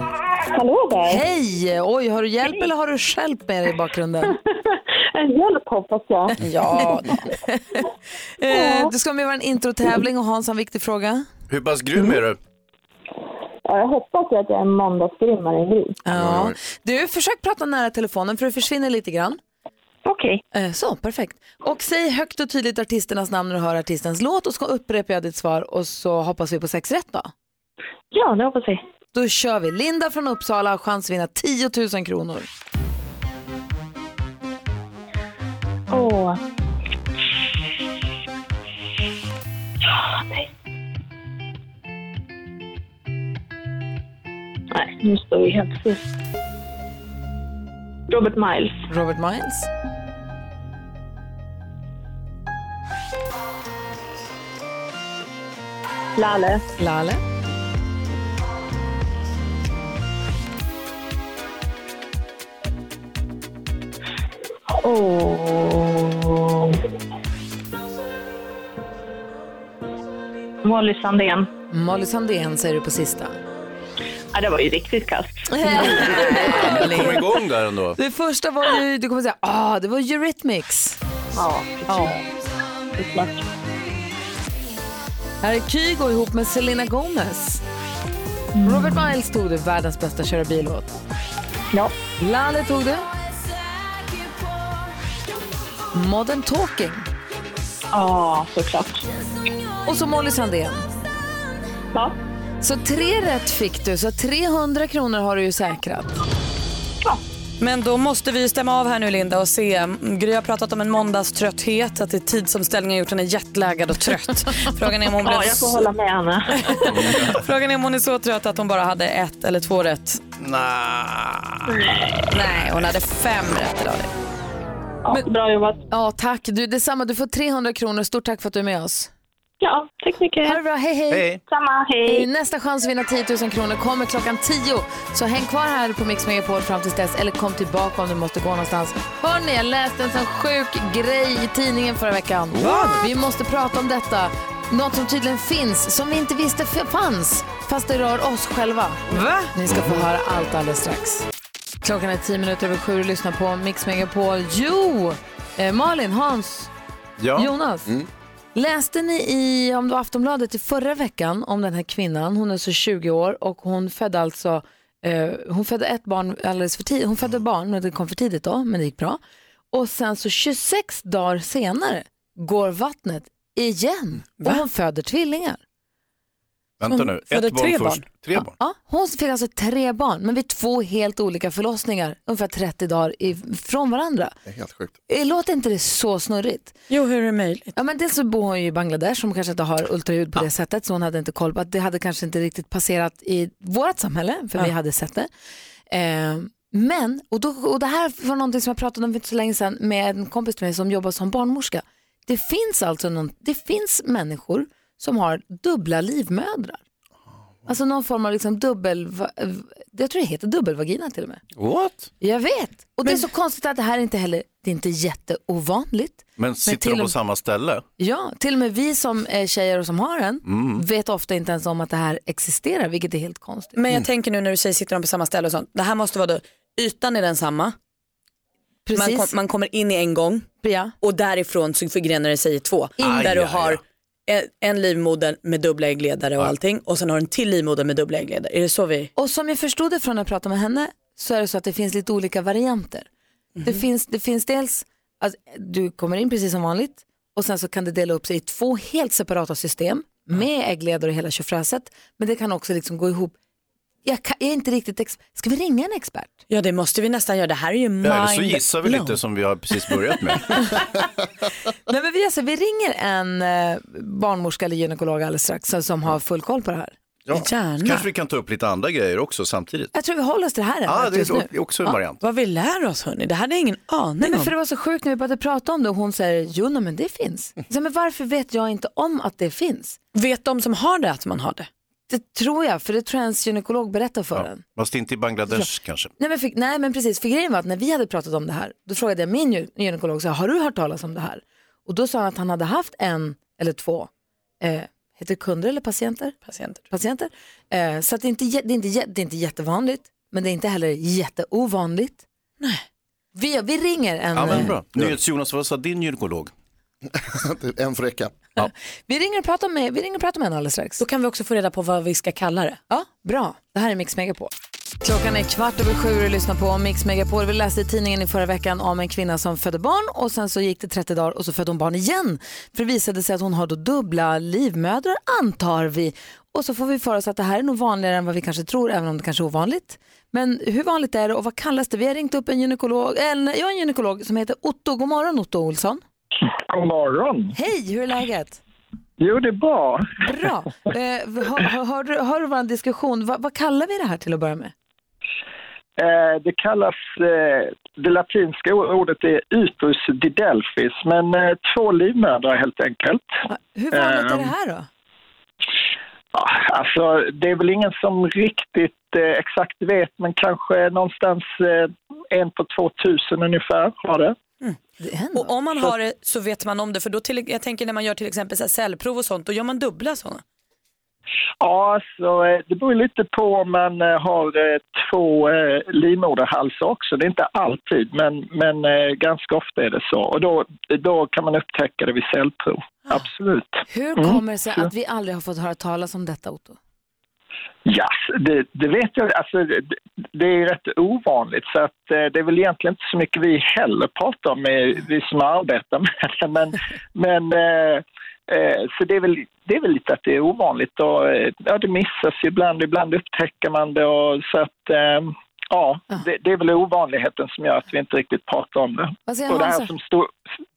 S1: Hallå
S16: där.
S1: Hej! Oj, har du hjälp eller har du skälp med dig i bakgrunden?
S16: En hjälp hoppas jag.
S1: Ja. Eh, du ska med i vår introtävling och Hans har en viktig fråga.
S3: Hur pass grym är du?
S16: Ja, jag hoppas ju att jag är en måndagsgrymmare än du.
S1: Ja. Du, försök prata nära telefonen för det försvinner lite grann. Eh,
S16: Okej.
S1: Så, perfekt. Och säg högt och tydligt artisternas namn när du hör artistens låt och så upprepar jag ditt svar och så hoppas vi på sex rätt då.
S16: Ja, det hoppas vi.
S1: Då kör vi. Linda från Uppsala har chans att vinna 10 000 kronor.
S16: Åh. Nej, nu står vi helt still. Robert Miles.
S1: Robert Miles.
S16: Lale.
S1: Lale.
S16: Åh. Molly Sandén.
S1: Molly Sandén säger du på sista.
S16: Ja, det var ju riktigt kast.
S3: Kom igång där ändå.
S1: Det första var ju, du kommer säga, ah, det var Eurythmics.
S16: Ja,
S1: Här är Kygo ihop med Selena Gomez.
S16: Mm.
S1: Robert Miles tog du, världens bästa köra bil-låt.
S16: Ja.
S1: Lale tog du. Modern Talking.
S16: Ja, såklart.
S1: Och så Molly Sandén.
S16: Ja.
S1: Så tre rätt fick du, så 300 kronor har du ju säkrat.
S4: Men då måste vi ju stämma av här nu Linda och se. Gry har pratat om en måndagströtthet, att det är tidsomställningen har gjort henne jetlaggad och trött. Frågan är om hon
S16: ja,
S4: blev
S16: jag får hålla med Anna.
S4: Frågan är om hon är så trött att hon bara hade ett eller två rätt.
S3: Nej.
S4: Nej, hon hade fem rätt idag.
S1: bra jobbat. Ja, tack. Du, detsamma. Du får 300 kronor. Stort tack för att du är med oss.
S17: Ja, tack mycket.
S1: Ha det bra, hej hej. Eh,
S17: Samma, hej.
S1: Nästa chans att vinna 10 000 kronor kommer klockan 10. Så häng kvar här på Mix Megapol fram tills dess eller kom tillbaka om du måste gå någonstans. Hörni, jag läste en sån sjuk grej i tidningen förra veckan.
S12: What?
S1: Vi måste prata om detta. Något som tydligen finns, som vi inte visste f- fanns, fast det rör oss själva.
S12: Va?
S1: Ni ska få höra allt alldeles strax. Klockan är 10 minuter över sju och lyssnar på Mix Megapol. Jo, eh, Malin, Hans,
S3: Ja.
S1: Jonas. Läste ni i om det var Aftonbladet i förra veckan om den här kvinnan? Hon är så 20 år och hon födde alltså eh, hon födde ett barn alldeles för tidigt. Hon födde barn, men det kom för tidigt då, men det gick bra. Och sen så 26 dagar senare går vattnet igen och hon föder tvillingar.
S3: Vänta
S1: Hon
S3: nu,
S1: födde
S3: ett barn
S1: tre
S3: först.
S1: barn.
S3: Tre barn.
S1: Ja, hon fick alltså tre barn, men vid två helt olika förlossningar, ungefär 30 dagar ifrån varandra.
S13: Det är helt sjukt.
S1: Eh, Låter inte det så snurrigt?
S4: Jo, hur är det möjligt?
S1: Ja, men dels så bor hon ju i Bangladesh som kanske inte har ultraljud på det sättet så hon hade inte koll på att det hade kanske inte riktigt passerat i vårt samhälle för vi hade sett det. Eh, men, och, då, och det här var någonting som jag pratade om för inte så länge sedan med en kompis till mig som jobbar som barnmorska. Det finns alltså någon, det finns människor som har dubbla livmödrar. Alltså någon form av liksom dubbel, jag tror det heter dubbelvagina till och med.
S3: What?
S1: Jag vet, och det är så konstigt att det här inte heller, det är inte jätteovanligt.
S3: Men sitter
S1: till
S3: de på
S1: och-
S3: samma ställe?
S1: Ja, till och med vi som är tjejer och som har en
S3: Mm.
S1: vet ofta inte ens om att det här existerar, vilket är helt konstigt.
S4: Men jag tänker nu när du säger sitter de på samma ställe och sånt. Det här måste vara då, ytan är densamma.
S1: Precis.
S4: Man, kom, man kommer in i en gång och därifrån så förgrenar det sig i två.
S1: In.
S4: där
S1: Aj,
S4: du
S1: aj,
S4: har En, en livmoder med dubbla äggledare och allting och sen har du en till livmoder med dubbla äggledare. Är det så vi...
S1: Och som jag förstod det från när jag pratade med henne så är det så att det finns lite olika varianter. Det,
S4: Mhm.
S1: finns, det finns dels att du kommer in precis som vanligt och sen så kan det dela upp sig i två helt separata system med äggledare och hela tjofräset. Men det kan också liksom gå ihop. Jag, kan, jag är inte riktigt ex- Ska vi ringa en expert?
S4: Ja det måste vi nästan göra, det här är ju mind
S3: Ja, Eller så gissar vi lite som vi har precis börjat med.
S1: Nej, men vi, gör så vi ringer en eh, barnmorska eller gynekolog alldeles strax som- som har full koll på det här.
S3: Ja.
S1: Gärna.
S3: Kanske vi kan ta upp lite andra grejer också samtidigt.
S1: Jag tror vi håller oss till det här.
S3: Ja,
S1: ämnet
S3: det
S1: just nu.
S3: är också en variant.
S4: Vad vi lär oss hörni, det hade jag ingen aning
S1: Nej, men
S4: om.
S1: för det var så sjukt när vi började prata om det och hon säger, jo nej, men det finns. Så, men varför vet jag inte om att det finns?
S4: Vet de som har det att man har det?
S1: Det tror jag, för det tror jag ens gynekolog berättar för en.
S3: Fast inte i Bangladesh kanske.
S1: Nej men, för, nej men precis, för grejen var att när vi hade pratat om det här, då frågade jag min gy- gynekolog, så här, har du hört talas om det här? Och då sa han att han hade haft en eller två, eh, heter det kunder eller patienter?
S4: Patienter.
S1: Patienter. Eh, så att det, är inte, jä- det, är inte, jä- det är inte jättevanligt, men det är inte heller jätteovanligt. Nej. Vi, vi ringer en... eh,
S3: Ja, men bra. NyhetsJonas, vad sa din gynekolog?
S13: en fräcka.
S3: Ja.
S1: Vi ringer och pratar med, vi ringer och pratar med henne alldeles strax. Då
S4: kan vi också få reda på vad vi ska kalla det.
S1: Ja, bra. Det här är Mix Megapol. Klockan är kvart över sju och du lyssnar på Mix Megapol. Vi läste i tidningen i förra veckan om en kvinna som födde barn och sen så gick det 30 dagar och så födde hon barn igen. För det visade sig att hon har då dubbla livmödrar antar vi. Och så får vi för oss att det här är nog vanligare än vad vi kanske tror, även om det kanske är ovanligt. Men hur vanligt är det och vad kallas det? Vi har ringt upp en gynekolog, en, jag är en gynekolog som heter Otto. God morgon Otto Olsson.
S18: God morgon.
S1: Hej, hur är läget?
S18: Jo, det är bra.
S1: Bra. Eh, hör, hör, hör, du- hör du vår diskussion? Va, vad kallar vi det här till att börja med?
S18: Eh, det kallas, eh, det latinska ordet är utus didelphis, men eh, två livmödrar helt enkelt.
S1: Hur vanligt är det här då?
S18: Alltså, det är väl ingen som riktigt eh, exakt vet, men kanske någonstans eh, en på två tusen ungefär har det.
S1: Mm.
S4: Och om man har det så vet man om det för då till, jag tänker när man gör till exempel så här cellprov och sånt då gör man dubbla sådana.
S18: Ja, så eh, det beror ju lite på om man eh, har eh, två eh, livmoderhalsar också. Det är inte alltid, men, men eh, ganska ofta är det så. Och då, då kan man upptäcka det vid cellprov.
S1: Ah.
S18: Absolut.
S1: Hur
S18: Mm.
S1: kommer det sig att vi aldrig har fått höra talas om detta Otto?
S18: Ja, det, det vet jag. Alltså, det, det är ju rätt ovanligt, så att, eh, det är väl egentligen inte så mycket vi heller pratar om, eh, vi som arbetar med det. Men, men, eh, eh, så det är, väl, det är väl lite att det är ovanligt och eh, ja, det missas ju ibland, ibland upptäcker man det. Och, så att, eh, ja, det, det är väl ovanligheten som gör att vi inte riktigt pratar om det.
S1: Vad säger
S18: och det här
S1: Hansa?
S18: som stod,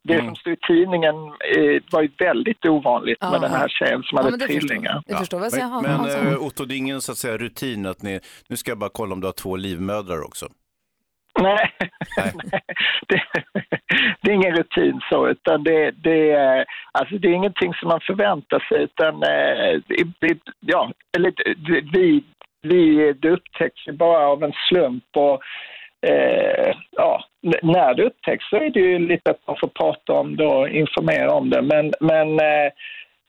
S18: det
S3: Mm.
S18: som stod i tidningen eh, var ju väldigt ovanligt
S1: Ja.
S18: med den här tjejen som
S1: Ja, men
S18: hade
S1: det förstår
S18: tvillingar.
S1: jag. Jag förstår. Vad säger
S3: Men,
S1: han?
S3: men
S1: Hans?
S3: eh, Otto, det är ingen så att säga, rutin att ni, nu ska jag bara kolla om du har två livmödrar också.
S18: Nej, det, det är ingen rutin så, utan det, det, är- alltså det är ingenting som man förväntar sig, utan eh, i- i- ja, eller det- vi, vi, det upptäcks ju bara av en slump och eh, ja, n- när det upptäcks så är det ju lite att man får prata om det och informera om det, men, men eh,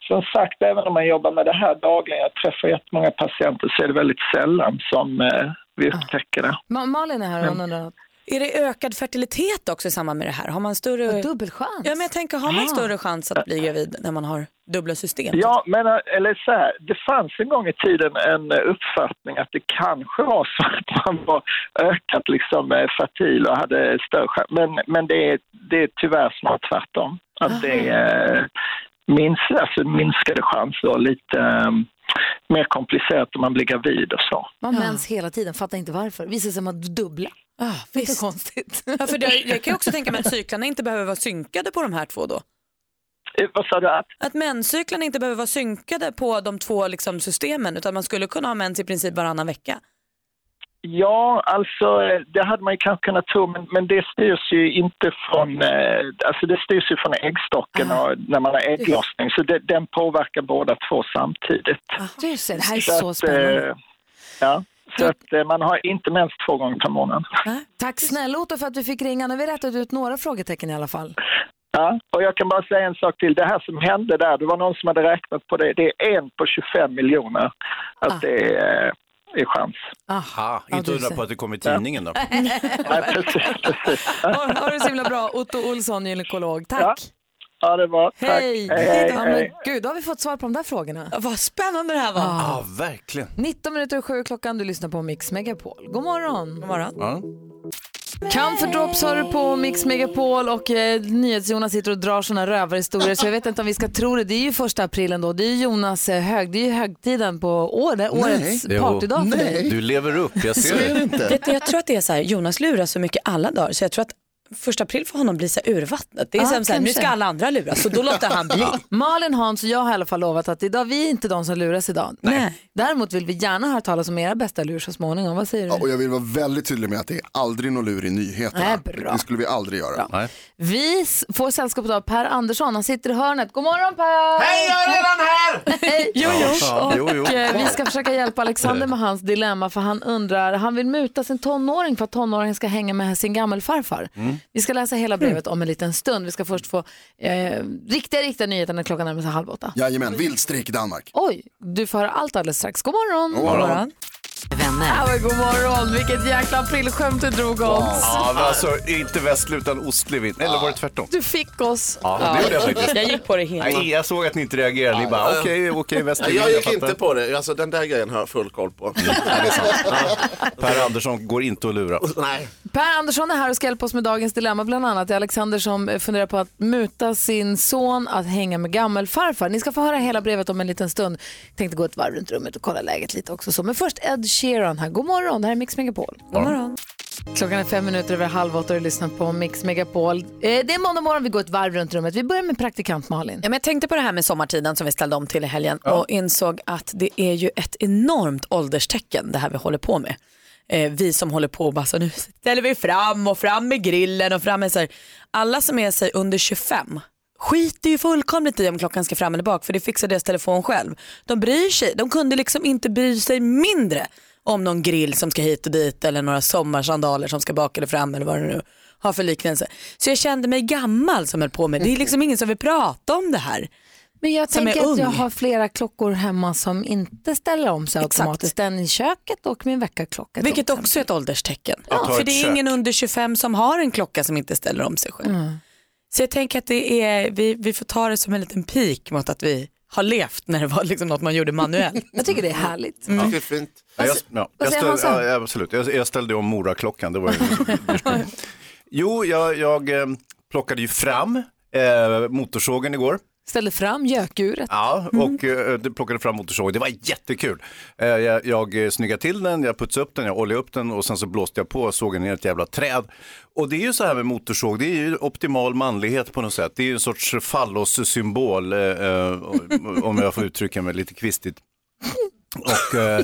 S18: som sagt, även om man jobbar med det här dagligen, jag träffar jättemånga patienter, så är det väldigt sällan som eh, vi upptäcker det.
S19: Ma- Malin är här och hon undrar något.
S4: Är det ökad fertilitet också i samband med det här? Har man större...
S19: Dubbel chans?
S4: Ja, men jag tänker, har man
S18: Ah.
S4: större chans att bli gravid när man har dubbla system?
S18: Ja, men eh, eller så här, det fanns en gång i tiden en eh, uppfattning att det kanske var så att man var ökat liksom eh, fertil och hade större chans. Men, men det, är, det är tyvärr snart tvärtom. Att det är eh, minns, alltså minskade chanser och lite eh, mer komplicerat om man blir gravid och så.
S1: Man har mens hela tiden, fattar inte varför. Visar sig man dubbla.
S4: Ah,
S1: visst. konstigt.
S4: Ja, för det, jag kan ju också tänka mig att cyklarna inte behöver vara synkade på de här två då.
S18: Eh, Vad sa du? Att?
S4: Att menscyklarna inte behöver vara synkade på de två liksom, systemen utan man skulle kunna ha mens i princip varannan vecka.
S18: Ja, alltså eh, det hade man ju kanske kunnat tro, men, men det styrs ju inte från, eh, alltså det styrs ju från äggstocken
S1: Ah.
S18: och när man har ägglossning, så det, den påverkar båda två samtidigt.
S1: Du ser, Ah, det här är
S18: att,
S1: så spännande.
S18: eh, ja, så att eh, man har inte mens två gånger per månad.
S1: Ah. Tack snälla Otto för att vi fick ringa. Nu har vi rätat ut några frågetecken i alla fall.
S18: Ja, och jag kan bara säga en sak till. Det här som hände där, det var någon som hade räknat på det. Det är en på 25 miljoner
S1: Ah.
S18: att det är, eh, är chans.
S3: Aha,
S18: Ja,
S3: inte
S18: du
S3: undra
S18: ser.
S3: på att det kom i tidningen då.
S18: Nej, precis, precis.
S1: Ha, ha det så himla bra, Otto Olsson, gynekolog. Tack.
S18: Ja, det var. Tack.
S1: Hej!
S18: Hej, hej,
S1: ja,
S18: hej.
S1: men, gud, då har vi fått svar på de där frågorna.
S4: vad spännande det här var.
S3: Ja, verkligen.
S1: 19 minuter och 7 klockan, du lyssnar på Mix Megapol. God morgon! God
S4: morgon.
S3: Ja.
S1: Comfort Drops har du på Mix Megapol och eh, NyhetsJonas sitter och drar såna rövarhistorier så jag vet inte om vi ska tro det. Det är ju första april ändå. Det är ju Jonas eh, hög, det är ju högtiden på år, årets
S3: Jo.
S1: partydag för dig.
S3: Du lever upp, jag ser det.
S4: Vet du, jag tror att det är så här, Jonas lurar så mycket alla dagar så jag tror att första april får honom bli så här urvattnat. Det är
S1: Ja,
S4: som så här, nu
S1: kanske.
S4: ska alla andra luras så då låter han bli.
S1: Malin, Hans och jag har i alla fall lovat att idag, vi är inte de som luras idag.
S13: Nej.
S1: Däremot vill vi gärna höra talas om era bästa lur så småningom. Vad säger du?
S13: Ja, och jag vill vara väldigt tydlig med att det är aldrig någon lur i nyheterna.
S1: Nej, bra.
S13: Det skulle vi aldrig göra.
S1: Vi s- får sällskap av Per Andersson, han sitter i hörnet. God morgon Per!
S7: Hej, jag är redan här!
S1: Hej!
S7: Jo, jo. Ja, jo, jo.
S1: Och, eh, vi ska försöka hjälpa Alexander med hans dilemma för han undrar, han vill muta sin tonåring för att tonåringen ska hänga med sin gammelfarfar.
S3: Mm.
S1: Vi ska läsa hela brevet
S4: Mm.
S1: om en liten stund. Vi ska först få eh, riktiga, riktiga nyheter när klockan närmar sig halv åtta.
S13: Jajamän, vilt streak i Danmark.
S1: Oj, du får höra allt alldeles strax. God morgon!
S13: God morgon.
S1: Vänner. Ja, men god morgon, vilket jäkla aprilskämt du drog oss.
S3: Ja, men alltså inte västlig utan ostlig vind. Eller var det tvärtom?
S1: Du fick oss.
S3: Ja, det gjorde jag faktiskt.
S4: Jag gick på det hela.
S3: Nej, jag såg att ni inte reagerade. Ni bara okej, okej, västlig
S20: Jag
S3: vind,
S20: gick
S3: fattar. Mm.
S20: inte på det. Alltså, den där grejen har jag full koll på.
S3: Per Andersson går inte att lura.
S20: Nej.
S1: Per Andersson är här och ska hjälpa oss med dagens dilemma bland annat. Det är Alexander som funderar på att muta sin son att hänga med gammelfarfar. Ni ska få höra hela brevet om en liten stund. Tänkte gå ett varv runt rummet och kolla läget lite också. Så. Men först Ed Sheeran här. God morgon, det här är Mix Megapol.
S4: God morgon.
S1: Klockan är fem minuter över halv åtta och du lyssnar på Mix Megapol. Eh, det är måndag morgon, vi går ett varv runt rummet. Vi börjar med praktikant Malin.
S4: Ja, men jag tänkte på det här med sommartiden som vi ställde om till i helgen och insåg att det är ju ett enormt ålderstecken det här vi håller på med. Eh, vi som håller på och bara så nu ställer vi fram och fram med grillen och fram med så här. Alla som är sig under 25 skiter ju fullkomligt i om klockan ska fram eller bak för det fixar deras telefon själv. De bryr sig, de kunde liksom inte bry sig mindre om någon grill som ska hit och dit eller några sommarsandaler som ska bak eller fram eller vad det nu har för liknelse. Så jag kände mig gammal som höll på med det. Det är liksom ingen som vill prata om det här.
S1: Men jag
S4: som är
S1: tänker att jag
S4: ung.
S1: har flera klockor hemma som inte ställer om sig automatiskt. Den i köket och min väckarklocka.
S4: Vilket också är ett ålderstecken.
S1: Att ha
S4: För
S1: ett
S4: det är
S1: kök.
S4: ingen under 25 som har en klocka som inte ställer om sig själv.
S1: Mm.
S4: Så jag tänker att det är, vi, vi får ta det som en liten pik mot att vi har levt när det var liksom något man gjorde manuellt.
S1: jag tycker det är härligt.
S4: Mm.
S20: Det är fint.
S3: Ja, jag, ja,
S4: vad
S3: jag
S4: säger
S3: ställ,
S4: Hansa?
S3: ja, absolut, jag, jag ställde om Moraklockan. Det var ju ursprungligt. jo, jag, jag eh, plockade ju fram eh, motorsågen igår.
S1: Ställde fram gökuret.
S3: Ja, och eh, det plockade fram motorsågen. Det var jättekul. Eh, jag, jag eh, snyggade till den, jag putsade upp den, jag oljade upp den och sen så blåste jag på och sågen ner ett jävla träd. Och det är ju så här med motorsåg, det är ju optimal manlighet på något sätt. Det är ju en sorts fallos-symbol, eh, eh, om jag får uttrycka mig lite kvistigt. Och eh,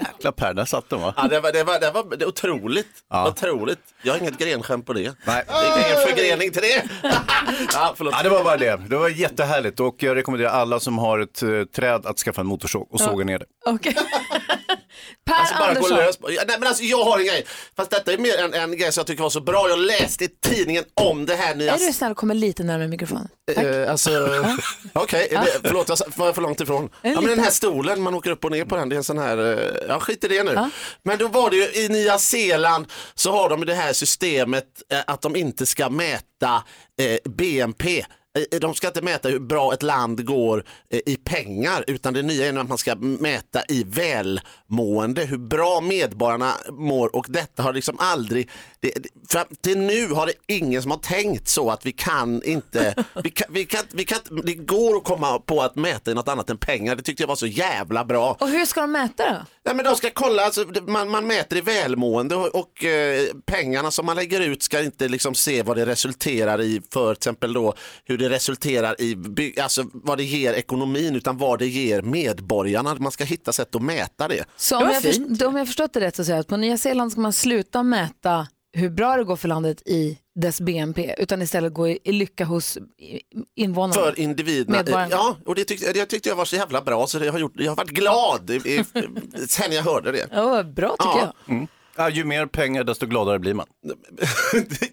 S3: jäkla Per, där satt den va?
S20: Ja, det, var, det, var, det, var, det var otroligt.
S3: Ja.
S20: otroligt. Jag har inget grenskämt på det.
S3: Nej.
S20: Det är ingen förgrening till det. ja, förlåt.
S3: Ja, det var bara det. Det var jättehärligt och jag rekommenderar alla som har ett eh, träd att skaffa en motorsåg och
S12: Ja.
S3: såga ner det.
S12: Okej. Per
S20: Alltså bara gå
S12: Andersson.
S20: lös. på- Ja, Nej, men alltså, jag har en grej. Fast detta är mer en, en grej som jag tycker var så bra. Jag läste i tidningen om det här nya
S1: Är du snäll och kommer lite närmare mikrofonen?
S20: Eh, alltså, okej,
S1: Ja.
S20: det- förlåt jag sa- var jag för långt ifrån.
S1: En
S20: Ja, men den
S1: liten.
S20: här stolen, man åker upp och ner på den, det är en sån här, eh, ja skit i det nu.
S1: Ja.
S20: Men då var det ju i Nya Zeeland så har de det här systemet eh, att de inte ska mäta eh, BNP. Eh, De ska inte mäta hur bra ett land går eh, i pengar utan det nya är nu att man ska mäta i välmående, hur bra medborgarna mår och detta har liksom aldrig, det, det- fram till nu har det ingen som har tänkt så att vi kan inte, vi kan, vi kan, vi kan, inte- det går att komma på att mäta i något annat än pengar, det tyckte jag var så jävla bra.
S1: Och hur ska de mäta då?
S20: Nej, men de ska kolla, alltså, det- man, man mäter i välmående och, och eh, pengarna som man lägger ut ska inte liksom se vad det resulterar i för till exempel då hur det resulterar i, by- alltså vad det ger ekonomin utan vad det ger medborgarna. Man ska hitta sätt att mäta det.
S1: Så om jag, först, om jag förstått det rätt så säger jag att på Nya Zeeland ska man sluta mäta hur bra det går för landet i dess BNP utan istället gå i, i lycka hos i- invånarna.
S20: För individerna.
S1: Medborgarna.
S20: Ja, och det tyckte, det tyckte jag var så jävla bra så det har gjort, jag har varit glad i, i, sen jag hörde det.
S1: bra
S20: tycker jag.
S3: Mm. Ja, ju mer pengar desto gladare blir man.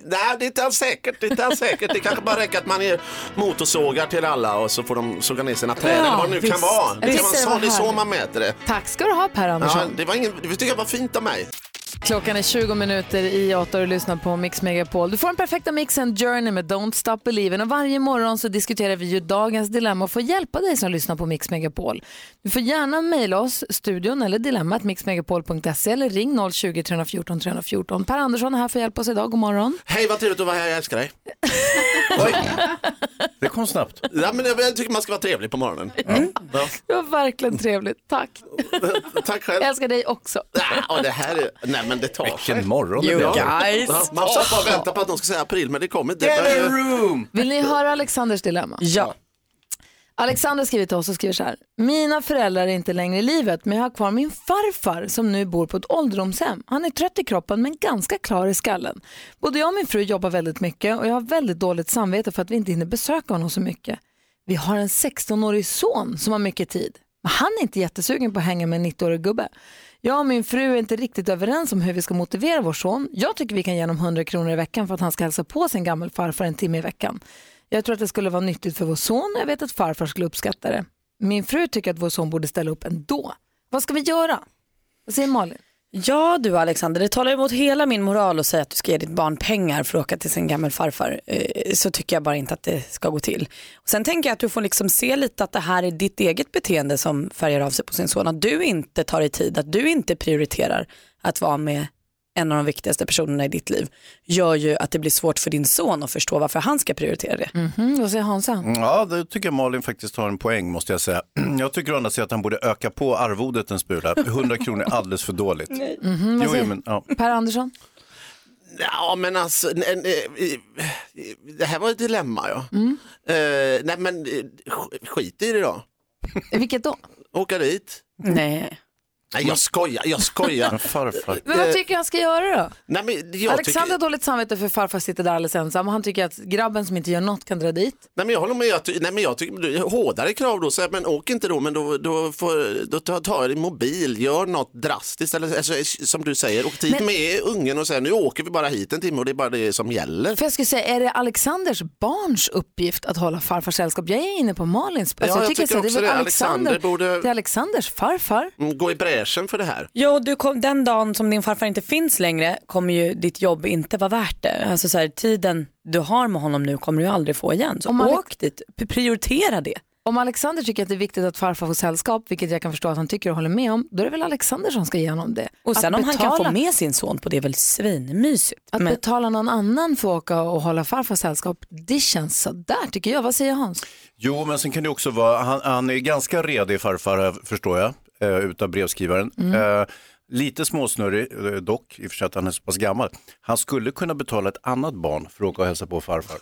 S20: Nej, det är inte alls säkert. Det, är inte alls säkert. det kanske bara räcker att man är motorsågar till alla och så får de såga ner sina träd
S1: Ja,
S20: eller vad det nu
S1: visst.
S20: kan vara.
S1: Jag
S20: Det, kan vara
S1: tyckte det
S20: så,
S1: var
S20: det är så
S1: härligt.
S20: man mäter det.
S1: Tack ska du ha Per
S20: Ja,
S1: Andersson.
S20: det, var ingen, det tycker jag var fint av mig.
S1: Klockan är 20 minuter i 8 och du lyssnar på Mix Megapol. Du får den perfekta mixen Journey med Don't Stop Believin' och varje morgon så diskuterar vi ju dagens dilemma och får hjälpa dig som lyssnar på Mix Megapol. Du får gärna mejla oss, studion eller dilemmat mixmegapol.se eller ring 020 314 314. Per Andersson är här för att hjälpa oss idag, god morgon.
S20: Hej, vad trevligt att vara här. Jag älskar dig.
S3: Det kom snabbt.
S20: Ja, men jag, jag tycker man ska vara trevlig på morgonen. Ja.
S1: Det var verkligen trevligt, tack.
S20: Tack själv.
S1: Jag älskar dig också.
S20: Ja, och det här är... Nej, men det tar sig.
S3: Vilken morgon det
S20: You
S3: blev.
S20: guys. Ja, Man satt bara och väntade på att de skulle säga april, men det kommer inte.
S3: Get a room!
S1: Vill ni höra Alexanders dilemma?
S20: Ja.
S1: Alexander skriver till oss och skriver så här. Mina föräldrar är inte längre i livet men jag har kvar min farfar som nu bor på ett ålderdomshem. Han är trött i kroppen men ganska klar i skallen. Både jag och min fru jobbar väldigt mycket och jag har väldigt dåligt samvete för att vi inte hinner besöka honom så mycket. Vi har en 16-årig son som har mycket tid. Men han är inte jättesugen på att hänga med en 90-årig gubbe. Jag och min fru är inte riktigt överens om hur vi ska motivera vår son. Jag tycker vi kan ge honom 100 kronor i veckan för att han ska hälsa på sin gammelfarfar en timme i veckan. Jag tror att det skulle vara nyttigt för vår son och jag vet att farfar skulle uppskatta det. Min fru tycker att vår son borde ställa upp ändå. Vad ska vi göra? Vad säger Malin?
S4: Ja du Alexander, det talar emot hela min moral att säga att du ska ge ditt barn pengar för att åka till sin gammelfarfar. Eh, Så tycker jag bara inte att det ska gå till. Och sen tänker jag att du får liksom se lite att det här är ditt eget beteende som färgar av sig på sin son. Att du inte tar dig tid, att du inte prioriterar att vara med en av de viktigaste personerna i ditt liv gör ju att det blir svårt för din son att förstå varför han ska prioritera det.
S1: Mm, vad säger Hansa?
S3: Ja, det tycker jag Malin faktiskt har en poäng måste jag säga. Jag tycker å andra sidan att han borde öka på arvodet en spula. 100 kronor är alldeles för dåligt.
S20: Mm,
S1: Mhm,
S3: Jo,
S1: vad
S3: jo,
S1: säger
S3: men, ja.
S1: Per Andersson?
S20: Ja, men alltså, n- n- i- i- det här var ett dilemma ja.
S1: Mm.
S20: Eh, nej, men eh, sk- skit i det då.
S1: Vilket då?
S20: Åka dit.
S4: Nej.
S20: Nej, jag skojar, jag skojar. Eh,
S3: Farfar.
S1: Men vad tycker han ska göra då?
S20: Nej, men jag
S1: Alexander har
S20: tycker...
S1: dåligt samvete för farfar sitter där alldeles ensam och han tycker att grabben som inte gör något kan dra dit.
S20: Nej men jag håller med, jag ty- nej, men jag tycker det är hårdare krav då, så här, men åk inte då, men då, då, får, då tar tar jag din mobil, gör något drastiskt, eller alltså, som du säger, åk dit
S1: Men-
S20: med ungen och säg nu åker vi bara hit en timme och det är bara det som gäller.
S1: För jag skulle säga, är det Alexanders barns uppgift att hålla farfar sällskap? Jag är inne på Malins.
S20: Ja, jag tycker
S1: så här,
S20: också
S1: väl
S20: det. Alexander borde-
S1: Det är Alexanders farfar.
S20: Mm, Gå i bräschen för det här.
S4: Ja, och du kom, den dagen som din farfar inte finns längre kommer ju ditt jobb inte vara värt det. Alltså så här, tiden du har med honom nu kommer du ju aldrig få igen. Så
S1: Om Alex-
S4: åk dit, p- prioritera det.
S1: Om Alexander tycker att det är viktigt att farfar får sällskap, vilket jag kan förstå att han tycker och håller med om, då är det väl Alexander som ska ge honom det.
S4: Och sen
S1: att
S4: om han kan få med sin son på det är väl svinmysigt.
S1: Att
S4: Men-
S1: betala någon annan för att åka och hålla farfar sällskap, det känns sådär tycker jag. Vad säger Hans?
S3: Jo, men sen kan det också vara, han, han är ganska redig farfar här, förstår jag, eh, utav brevskrivaren. Eh, lite småsnurrig eh, dock, i och för sig att han är så pass gammal. Han skulle kunna betala ett annat barn för att åka och hälsa på farfar.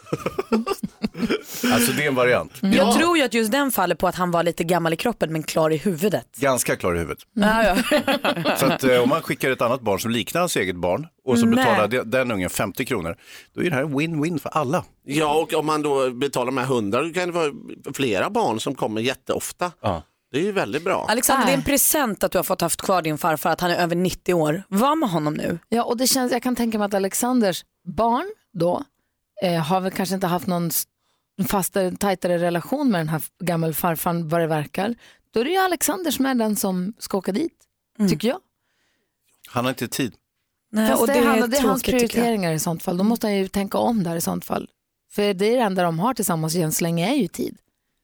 S3: alltså det är en variant.
S4: Mm. Jag tror ju att just den faller på att han var lite gammal i kroppen men klar i huvudet.
S3: Ganska klar i huvudet.
S4: Mm. Ja, ja.
S3: Så att, eh, om man skickar ett annat barn som liknar hans eget barn och så
S20: Nej.
S3: betalar de- den ungen 50 kronor, då är det här en win-win för alla.
S20: Ja, och om man då betalar med 100 då kan det vara flera barn som kommer jätteofta. Det är ju väldigt bra.
S4: Alexander, det är en present att du har fått haft kvar din farfar, att han är över 90 år. Var med honom nu.
S1: Ja, och det känns, jag kan tänka mig att Alexanders barn då eh, har väl kanske inte haft någon s- fastare, tajtare relation med den här gammelfarfan vad det verkar. Då är det ju Alexander som är den som ska åka dit,
S4: Mm.
S1: tycker jag.
S3: Han har inte tid.
S4: Nej,
S1: Fast
S4: och
S1: det, är
S4: det är
S1: han, det är hans
S4: tråkigt, tycker jag.
S1: prioriteringar i sånt fall. Då måste han ju tänka om där i sånt fall. För det är det enda de har tillsammans än så länge är ju tid.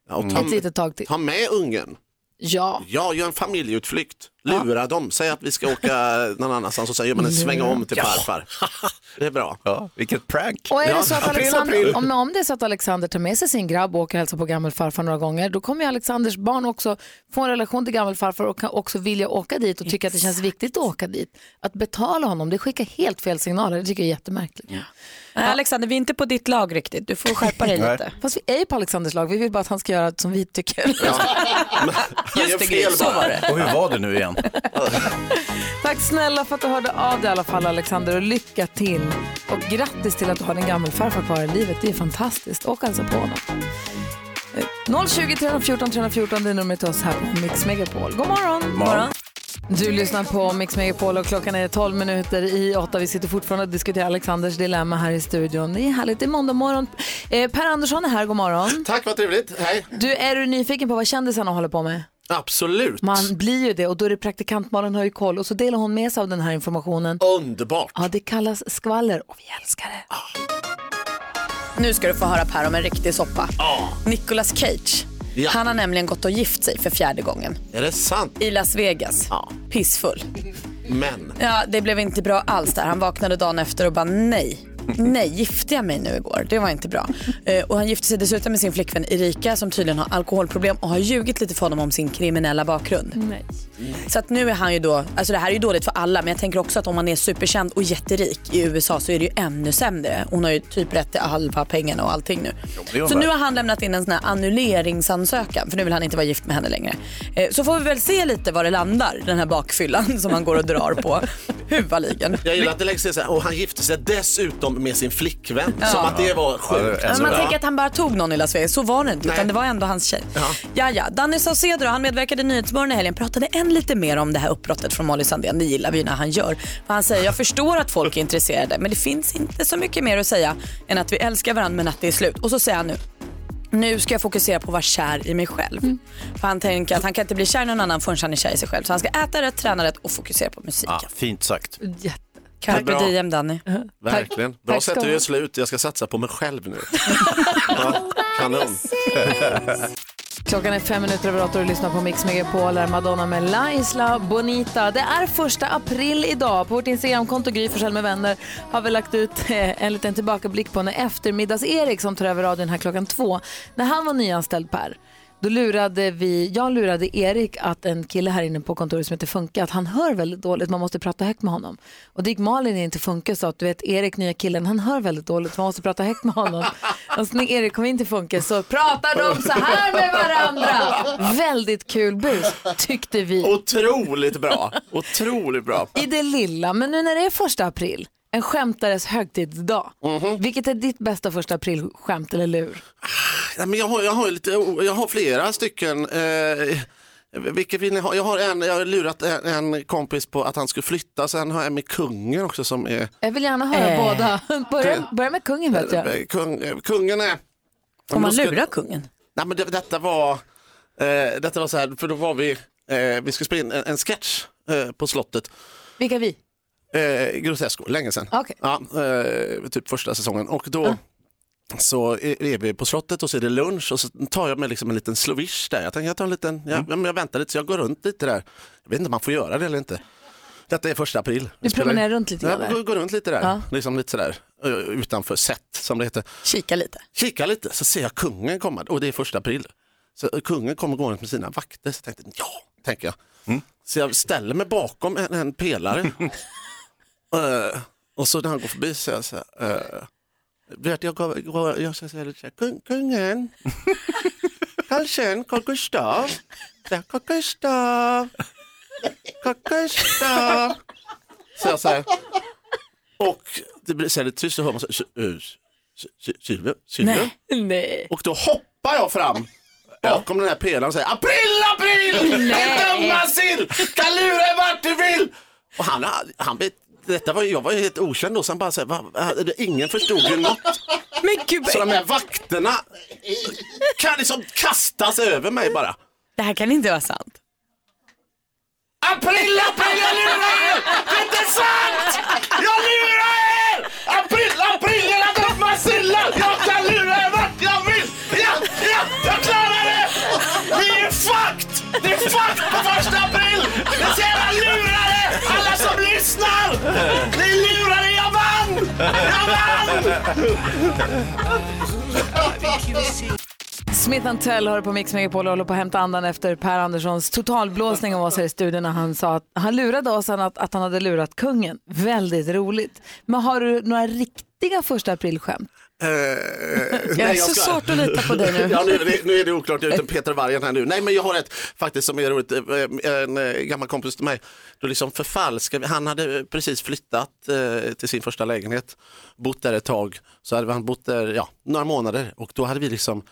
S20: Ja, och ta,
S1: Ett litet tag till.
S20: ta med ungen.
S1: Ja.
S20: Ja, gör en familjeutflykt. Lura dem. Säg att vi ska åka någon annanstans och sen gör man en sväng om till
S3: Ja.
S20: farfar. Det är bra.
S3: Ja, vilket prank.
S1: Och är det så att Alexander, om, om det är så att Alexander tar med sig sin grabb och åker och hälsar på gammelfarfar några gånger, då kommer ju Alexanders barn också få en relation till gammelfarfar och kan också vilja åka dit och tycka att det känns viktigt att åka dit. Att betala honom, det skickar helt fel signaler. Det tycker jag är jättemärkligt.
S4: Nej, Äh, Alexander, vi är inte på ditt lag riktigt. Du får skärpa dig lite.
S1: Fast vi är ju på Alexanders lag, vi vill bara att han ska göra som vi tycker.
S4: Just det, Gry, så var det.
S3: Och hur var det nu igen?
S1: Tack snälla för att du hörde av dig i alla fall Alexander och lycka till. Och grattis till att du har din gammelfarfar kvar i livet, det är fantastiskt. Och alltså på honom. Eh, 020 314 314, det är numret till oss här på Mix Megapol. God morgon!
S4: God morgon.
S1: Du lyssnar på Mix Megapol och klockan är 12 minuter i 8. Vi sitter fortfarande och diskuterar Alexanders dilemma här i studion. Det är härligt, det är måndag morgon. Eh, per Andersson är här, god morgon.
S20: Tack, vad trevligt. Hej.
S1: Du, är du nyfiken på vad kändisarna håller på med?
S20: Absolut.
S1: Man blir ju det och då är det praktikant Malin har ju koll och så delar hon med sig av den här informationen.
S20: Underbart.
S1: Ja, det kallas skvaller och vi älskar det.
S20: Ah,
S4: Nu ska du få höra Per om en riktig soppa. Nicolas Cage.
S20: Ja.
S4: Han har nämligen gått och gift sig för fjärde gången.
S20: Är det sant?
S4: I Las Vegas. Pissfull.
S20: Men.
S4: Ja, det blev inte bra alls där. Han vaknade dagen efter och bara nej. Nej, gifte jag mig nu igår? Det var inte bra. Eh, och han gifte sig dessutom med sin flickvän Erika som tydligen har alkoholproblem och har ljugit lite för honom om sin kriminella bakgrund.
S1: Nej.
S4: Så att nu är han ju då, alltså det här är ju dåligt för alla men jag tänker också att om man är superkänd och jätterik i USA så är det ju ännu sämre. Hon har ju typ rätt till halva pengarna och allting nu.
S3: det gör hon
S4: Så nu
S3: väl.
S4: har han lämnat in en sån här annulleringsansökan för nu vill han inte vara gift med henne längre. Eh, Så får vi väl se lite var det landar den här bakfyllan som han går och drar på. Huvaligen.
S20: Jag gillar att det läggs till så här, och han gifte sig dessutom med sin flickvän.
S4: Ja.
S20: Som att det var
S4: Ja,
S20: sjukt.
S4: Men man tänker att han bara tog någon i Las Vegas, så var det inte.
S20: Nej.
S4: Utan det var ändå hans tjej. Ja. Ja, Danny Saucedo då, han medverkade i Nyhetsmorgon i helgen. Pratade än lite mer om det här uppbrottet från Molly Sandén. Det gillar vi ju när han gör. För han säger, jag förstår att folk är intresserade men det finns inte så mycket mer att säga än att vi älskar varandra men att det är slut. Och så säger han nu, nu ska jag fokusera på att vara kär i mig själv. För han tänker att han kan inte bli kär i någon annan förrän han är kär i sig själv. Så han ska äta rätt, träna rätt och fokusera på musiken.
S3: Fint sagt.
S1: Jätte.
S4: Carpe
S20: Bra.
S4: diem Danny.
S20: Verkligen.
S4: Tack.
S20: Bra sätt
S4: Tack ska
S20: att
S4: du
S20: göra
S4: ha.
S20: slut. Jag ska satsa på mig själv nu. ja, kanon.
S1: Klockan är fem minuter över åtta och du lyssnar på Mix Megapol. Här är Madonna med La Isla Bonita. Det är första april idag. På vårt Instagramkonto Gry Forssell med vänner har vi lagt ut eh, en liten tillbakablick på när eftermiddags-Erik som tar över radion här klockan två. När han var nyanställd Per, då lurade vi, jag lurade Erik att en kille här inne på kontoret som heter Funke, att han hör väldigt dåligt, man måste prata högt med honom. Och då gick Malin in till Funke och sa att du vet Erik, nya killen, han hör väldigt dåligt, man måste prata högt med honom. Och så när Erik kom in till Funke så pratar de så här med varandra. Väldigt kul bus, tyckte vi.
S20: Otroligt bra. Otroligt bra.
S1: I det lilla, men nu när det är första april, en skämtares högtidsdag. Vilket är ditt bästa första april-skämt, eller hur?
S20: Nej, men jag, har, jag, har ju lite, jag har flera stycken. Eh, vilket vill ni ha? Jag har, en, jag har lurat en, en kompis på att han skulle flytta. Sen har jag en med kungen också som är...
S1: Jag vill gärna höra
S20: Eh.
S1: båda. Börja, börja med kungen vet jag.
S20: Eh, Kung, eh, kungen är...
S4: Får man
S20: Då ska-
S4: lura kungen?
S20: Nej, men det, detta var, eh, detta var så här, för då var vi, eh, vi skulle spela in en, en sketch eh, på slottet.
S1: Vilka vi?
S20: Eh, Grotesco, länge sedan.
S1: Okej.
S20: Ja, eh, typ första säsongen. Och då så är är vi på slottet och så är det lunch och så tar jag med liksom en liten slovish där. Jag tänker jag tar en liten, jag, ja, men jag väntar lite så jag går runt lite där. Jag vet inte om man får göra det eller inte. Detta är första april.
S1: Du promenerar runt lite grann
S20: Ja,
S1: där.
S20: går, går runt lite där.
S1: Ja.
S20: Liksom lite sådär eh, utanför set som det heter.
S4: Kika lite.
S20: Kika lite så ser jag kungen komma och det är första april. Så eh, kungen kommer gående med sina vakter. Så tänkte jag, ja, tänker jag. Så jag ställer mig bakom en, en pelare. Eh, och så när han går förbi så jag så här, eh, vet jag, gav, gav, jag ska säga lite så här, Kung, kungen, Karlsson, Carl Gustav, Så här, Carl Gustav, Carl Gustav. Så jag så här, och det blir så här lite tyst, så hör man så här, "Sy- eh, sy- sy- Sylvia, Sylvia.
S12: Nej.
S20: Och då hoppar jag fram bakom den här pelaren och säger april, april!
S5: Nej.
S20: Ett dumma sill! Kan lura er vart du vill! Och han, han vet, detta var, ju- jag var ju helt okänd då, så han bara så här, va, va, ingen förstod ju något.
S12: Men gud.
S20: Så de här vakterna kan liksom kastas över mig bara.
S4: Det här kan inte vara sant.
S20: April, april, jag lurar er! Det är inte sant! Jag lurar er! April, april, era dumma sillar! Jag kan lura er vart jag vill! Ja, ja, jag klarar det! Vi är fucked! Det är fucked på första april! Det är så jävla lurade! Alla som lyssnar! Ni är lurade, jag vann! Jag vann!
S1: Smith Tell hör på Mix Megapol och håller på att hämta andan efter Per Anderssons totalblåsning av oss här i studion när han sa att han lurade oss att, att han hade lurat kungen. Väldigt roligt. Men har du några riktiga första aprilskämt?
S20: Eh,
S1: Jag
S20: nej,
S1: är så svårt att lita på dig nu.
S20: ja, nu, nu- nu är det oklart, jag är utan Peter Vargen här nu. Nej men jag har ett faktiskt som är roligt, Eh, en eh, gammal kompis till mig, då liksom förfalskade, han hade precis flyttat eh, till sin första lägenhet, bott där ett tag, så hade han bott där ja, några månader och då hade vi liksom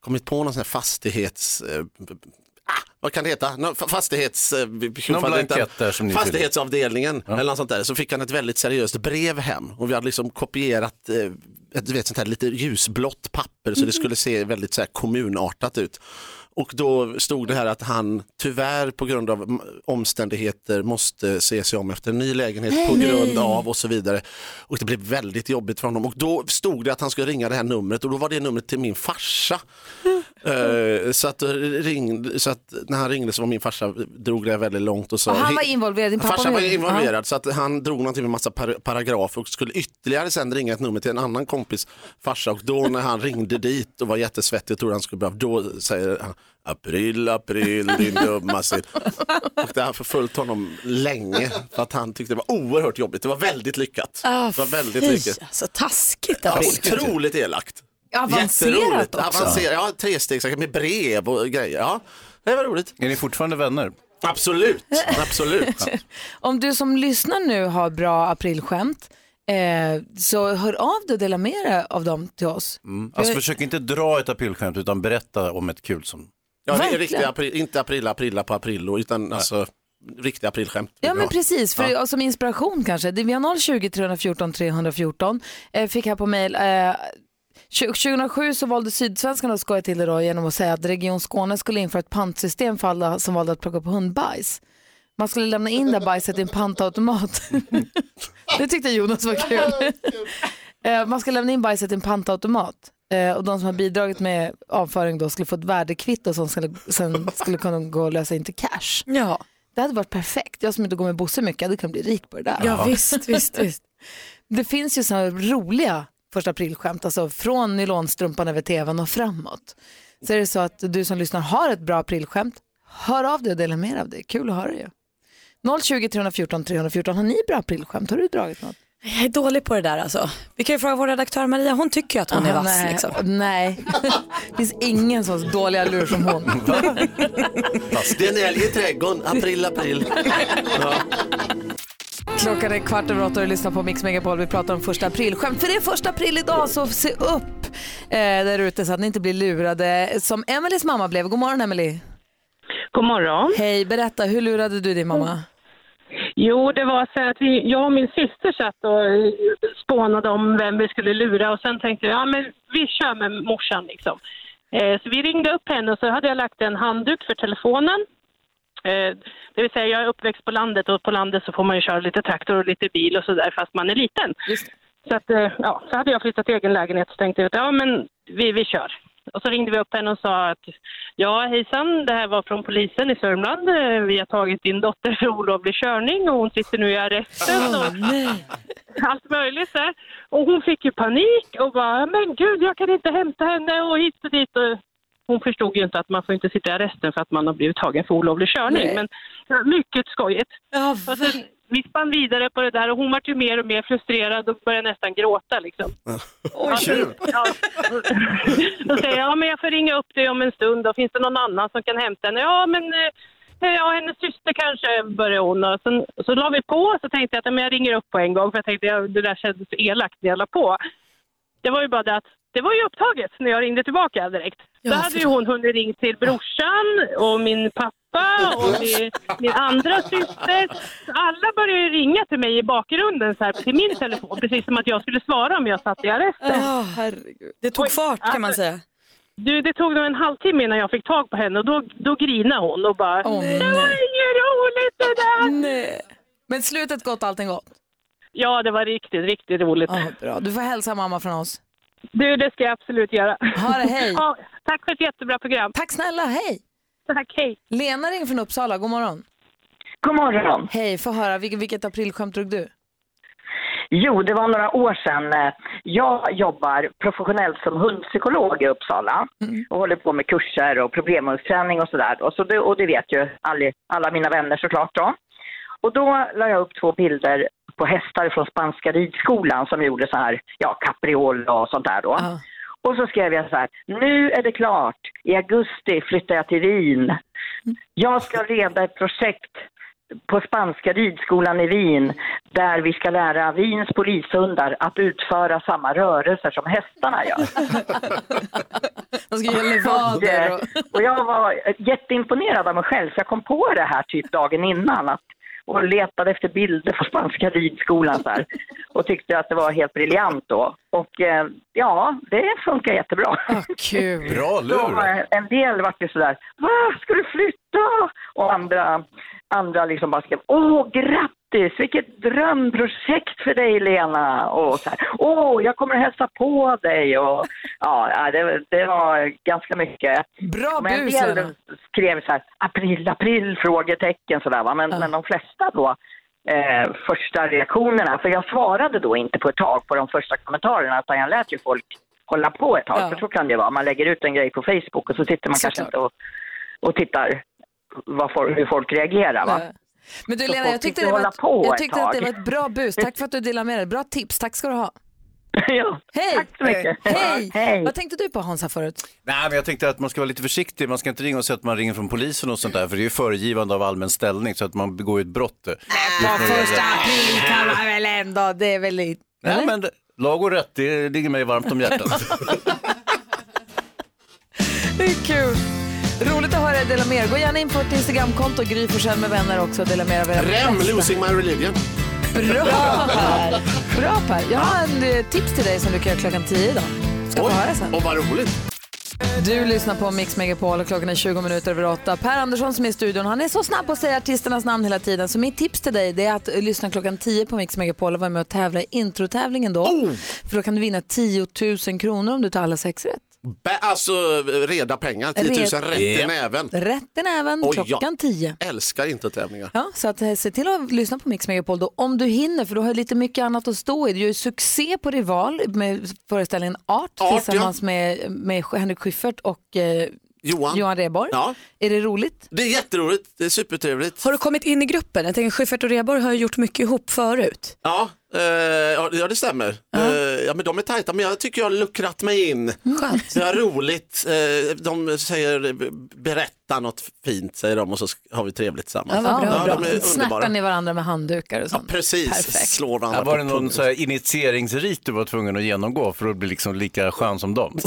S20: kommit på någon sån här fastighets... eh, ah, vad kan det heta? Nå- fa- Fastighets... eh, vi- vi-
S3: Någon
S20: fan, det är inte-
S3: blankett där som ni fyller i.
S20: fastighetsavdelningen eller något sånt där så fick han ett väldigt seriöst brev hem och vi hade liksom kopierat eh, ett du vet, sånt här lite ljusblått papper så det skulle se väldigt så här kommunartat ut. Och då stod det här att han tyvärr på grund av m- omständigheter måste se sig om efter en ny lägenhet på
S5: Nej.
S20: grund av och så vidare. Och det blev väldigt jobbigt för honom och då stod det att han skulle ringa det här numret och då var det numret till min farsa. Eh, så, att, då ringde, så att när han ringde så var min farsa drog det här väldigt långt och sa
S1: Och han var
S20: "He-
S1: involverad, din pappa
S20: Farsan
S1: var
S20: var
S1: involverad.
S20: involverad så att han drog någonting med massa par paragrafer och skulle ytterligare sen ringa ett nummer till en annan kompis farsa och då när han ringde dit och var jättesvettig och trodde han skulle bli av, då säger han april, april din dumma sill. Och det har förföljt honom länge för att han tyckte det var oerhört jobbigt. Det var väldigt lyckat. det var väldigt
S4: Ah, fy,
S20: lyckat.
S4: Alltså taskigt.
S20: Ja,
S4: Alltså.
S20: otroligt elakt.
S4: Avancerat
S20: Jätteroligt.
S4: också.
S20: Avancerat. Ja, trestegsraket med brev och grejer. Ja, det var roligt. Är ni fortfarande vänner? Absolut, absolut.
S1: Om du som lyssnar nu har bra aprilskämt eh, så hör av dig och dela med dig av dem till oss.
S3: Mm. Alltså försök inte dra ett aprilskämt utan berätta om ett kul som...
S20: Ja, det är
S1: Verkligen.
S20: riktiga april, inte aprilla aprilla på aprillo utan alltså riktiga aprilskämt.
S1: Ja men precis, för,
S20: Ja.
S1: och som inspiration kanske. Det- Vi har 020 314 314. Eh, fick här på mejl, eh, tju- 2007 så valde Sydsvenskan att skoja till det då genom att säga att Region Skåne skulle införa ett pantsystem för alla som valde att plocka upp hundbajs. Man skulle lämna in det här bajset i en pantautomat. det tyckte Jonas var kul. Eh, Man ska lämna in bajset i en pantautomat Eh, och de som har bidragit med avföring då skulle få ett värdekvitto som skulle, sen skulle kunna gå och lösa in till cash.
S4: Ja.
S1: Det hade varit perfekt. Jag som inte går med Bosse mycket hade kunnat bli rik på det där.
S4: Ja, visst, visst, visst.
S1: Det finns ju sådana roliga första aprilskämt, alltså från nylonstrumpan över tvn och framåt. Så är det så att du som lyssnar har ett bra aprilskämt, hör av dig och dela med dig av det. Kul att höra ju. 020 314 314, har ni bra aprilskämt? Har du dragit något?
S4: Jag är dålig på det där alltså. Vi kan ju fråga vår redaktör Maria, hon tycker ju att hon är
S1: Aha,
S4: vass.
S1: nej.
S4: Liksom.
S1: Nej, det finns ingen så dåliga lur som hon.
S20: Det är en älg i trädgården, april april. Ja.
S1: Klockan är kvart över åtta och du lyssnar på Mix Megapol. Vi pratar om första aprilskämt. För det är första april idag så se upp eh, där ute så att ni inte blir lurade. Som Emelies mamma blev. God morgon Emily.
S17: God morgon.
S1: Hej, berätta hur lurade du din mamma?
S17: Jo, det var så att vi, jag och min syster satt och eh, spånade om vem vi skulle lura och sen tänkte jag, ja men vi kör med morsan liksom. Eh, så vi ringde upp henne och så hade jag lagt en handduk för telefonen. Eh, det vill säga jag är uppväxt på landet och på landet så får man ju köra lite traktor och lite bil och sådär fast man är liten. Så, att, eh, ja, så hade jag flyttat till egen lägenhet så tänkte jag att ja men vi, vi kör. Och så ringde vi upp henne och sa att ja hejsan, det här var från polisen i Sörmland. Eh, Vi har tagit din dotter för olovlig körning och hon sitter nu i arresten. Och allt möjligt där. Och hon fick ju panik och bara, men gud jag kan inte hämta henne och hit och dit. Och hon förstod ju inte att man får inte sitta i arresten för att man har blivit tagen för olovlig körning.
S12: Nej.
S17: Men ja, mycket skojigt. och sen, vi spann vidare på det där och hon var ju mer och mer frustrerad och började nästan gråta. Liksom.
S5: Oj,
S17: kul. Då säger jag, ja, men jag får ringa upp dig om en stund. Då finns det någon annan som kan hämta henne? Ja, men eh, ja, hennes syster kanske, börjar hon. Och sen, så la vi på så tänkte jag att ja, men jag ringer upp på en gång för jag tänkte ja, det där kändes så elakt när jag la på. Det var ju bara det att det var ju upptaget när jag ringde tillbaka direkt.
S5: Ja,
S17: Då hade ju
S5: förlåt.
S17: hon hunnit ringa till brorsan och min pappa och min, min andra syster. Så Alla började ju ringa till mig i bakgrunden så här, till min telefon precis som att jag skulle svara om jag satt i arresten.
S4: Det tog fart kan man säga.
S17: alltså, Du, det tog nog en halvtimme innan jag fick tag på henne och då, då grinade hon och bara
S1: nej.
S17: Det var inget roligt det där!
S1: Nej. Men slutet gott, allting gott.
S17: Ja, det var riktigt, riktigt roligt.
S1: bra. Du får hälsa mamma från oss.
S17: Du, det ska jag absolut göra.
S1: Ha det, hej.
S17: Ja, tack för ett jättebra program.
S1: Tack snälla, hej.
S17: Tack, hej.
S1: Lena ring från Uppsala, god morgon.
S16: God morgon.
S1: Hej, få höra, vilket, vilket aprilskämt drog du?
S16: Jo, det var några år sedan. Eh, Jag jobbar professionellt som hundpsykolog i Uppsala och håller på med kurser och problemhundsträning och sådär. Och, så det, och det vet ju alla, alla mina vänner såklart då. Och då la jag upp två bilder på hästar från spanska ridskolan som gjorde så här, ja, capriol och sånt där då. Och så skrev jag så här, nu är det klart, i augusti flyttar jag till Wien. Jag ska leda ett projekt på spanska ridskolan i Wien där vi ska lära Wiens polishundar att utföra samma rörelser som hästarna gör.
S1: De ska göra levader och...
S16: Och, eh, och jag var jätteimponerad av mig själv så jag kom på det här typ dagen innan att, och letade efter bilder på spanska ridskolan så här, och tyckte att det var helt briljant då. Och eh, ja, det funkar jättebra.
S1: Ah,
S16: eh,
S1: kul!
S16: Bra lur! en del vart ju sådär, va, ska du flytta? Och andra, andra liksom bara skrev, åh grattis, vilket drömprojekt för dig Lena! Och så här, åh, jag kommer att hälsa på dig! Och, ja, ja, det, det var ganska mycket.
S1: Bra
S16: Men en
S1: bus, Lena.
S16: del skrev så här, april, april, frågetecken sådär va, men, men de flesta då Eh, första reaktionerna, för jag svarade då inte på ett tag på de första kommentarerna utan jag lät ju folk hålla på ett tag, för så kan det vara. Man lägger ut en grej på Facebook och så sitter man kanske inte och, och tittar vad folk, hur folk reagerar. Va?
S1: Men du
S16: Så
S1: Lena,
S16: folk
S1: jag tyckte,
S16: fick
S1: det var,
S16: hålla
S1: ett,
S16: på
S1: jag
S16: ett
S1: tyckte att det var
S16: tag.
S1: ett bra bus. Tack för att du delade med dig. Bra tips, tack ska du ha.
S16: ja,
S1: Hej!
S16: Tack så mycket.
S1: Hej! Vad tänkte du på Hansa förut?
S3: Nej, men jag tänkte att man ska vara lite försiktig. Man ska inte ringa och säga att man ringer från polisen och sånt där, för det är ju föregivande av allmän ställning så att man begår ju ett brott. eh, Nej,
S1: På första april kan man väl ändå, det är väl lite...
S3: Nej, men det- lag och rätt, det ligger mig varmt om hjärtat.
S1: Det är kul. Roligt att höra er dela med er. Gå gärna in på vårt Instagramkonto, Gry Forssell med vänner också och dela med er av era
S20: Rem,
S1: bästa.
S20: losing my religion.
S1: Bra Per! Bra Per! Jag har en eh, tips till dig som du kan göra klockan 10 idag. Ska få höra sen.
S20: Och vad roligt.
S1: Du lyssnar på Mix Megapol och klockan är 20 minuter över 8. Per Andersson som är i studion, han är så snabb på att säga artisternas namn hela tiden. Så mitt tips till dig det är att eh, lyssna klockan 10 på Mix Megapol och vara med och tävla i introtävlingen då.
S20: Oh!
S1: För då kan du vinna 10 000 kronor om du tar alla sex rätt.
S20: Bä- Alltså reda pengar, 10 000
S1: Red-
S20: typ rätt i
S1: Yep.
S20: näven.
S1: Rätt i näven
S20: Oj, ja.
S1: klockan 10.
S20: Älskar inte tävlingar.
S1: Ja, så att, eh, se till att lyssna på Mix Megapol då, om du hinner, för du har ju lite mycket annat att stå i. Du gör ju succé på Rival med föreställningen Art,
S20: Art, ja.
S1: tillsammans med, med Henrik Schyffert och eh,
S20: Johan.
S1: Johan Rheborg.
S20: Ja.
S1: Är det roligt?
S20: Det är jätteroligt, det är supertrevligt.
S4: Har du kommit in i gruppen? Jag tänker Schyffert och Rheborg har ju gjort mycket ihop förut.
S20: Ja, eh, ja ja, det stämmer. Eh, ja, men de är tajta, men jag tycker jag har luckrat mig in.
S1: Mm,
S4: Skönt.
S20: Det är roligt. Eh, de säger eh, berätta något fint, säger de, och så sk- har vi trevligt tillsammans. de är
S1: Snärtar
S20: underbara.
S1: ni varandra med handdukar och sånt?
S20: Precis, slår
S3: Ja,
S20: varandra
S3: var det
S20: på
S3: någon så här initieringsrit du var tvungen att genomgå för att bli liksom lika skön som dem?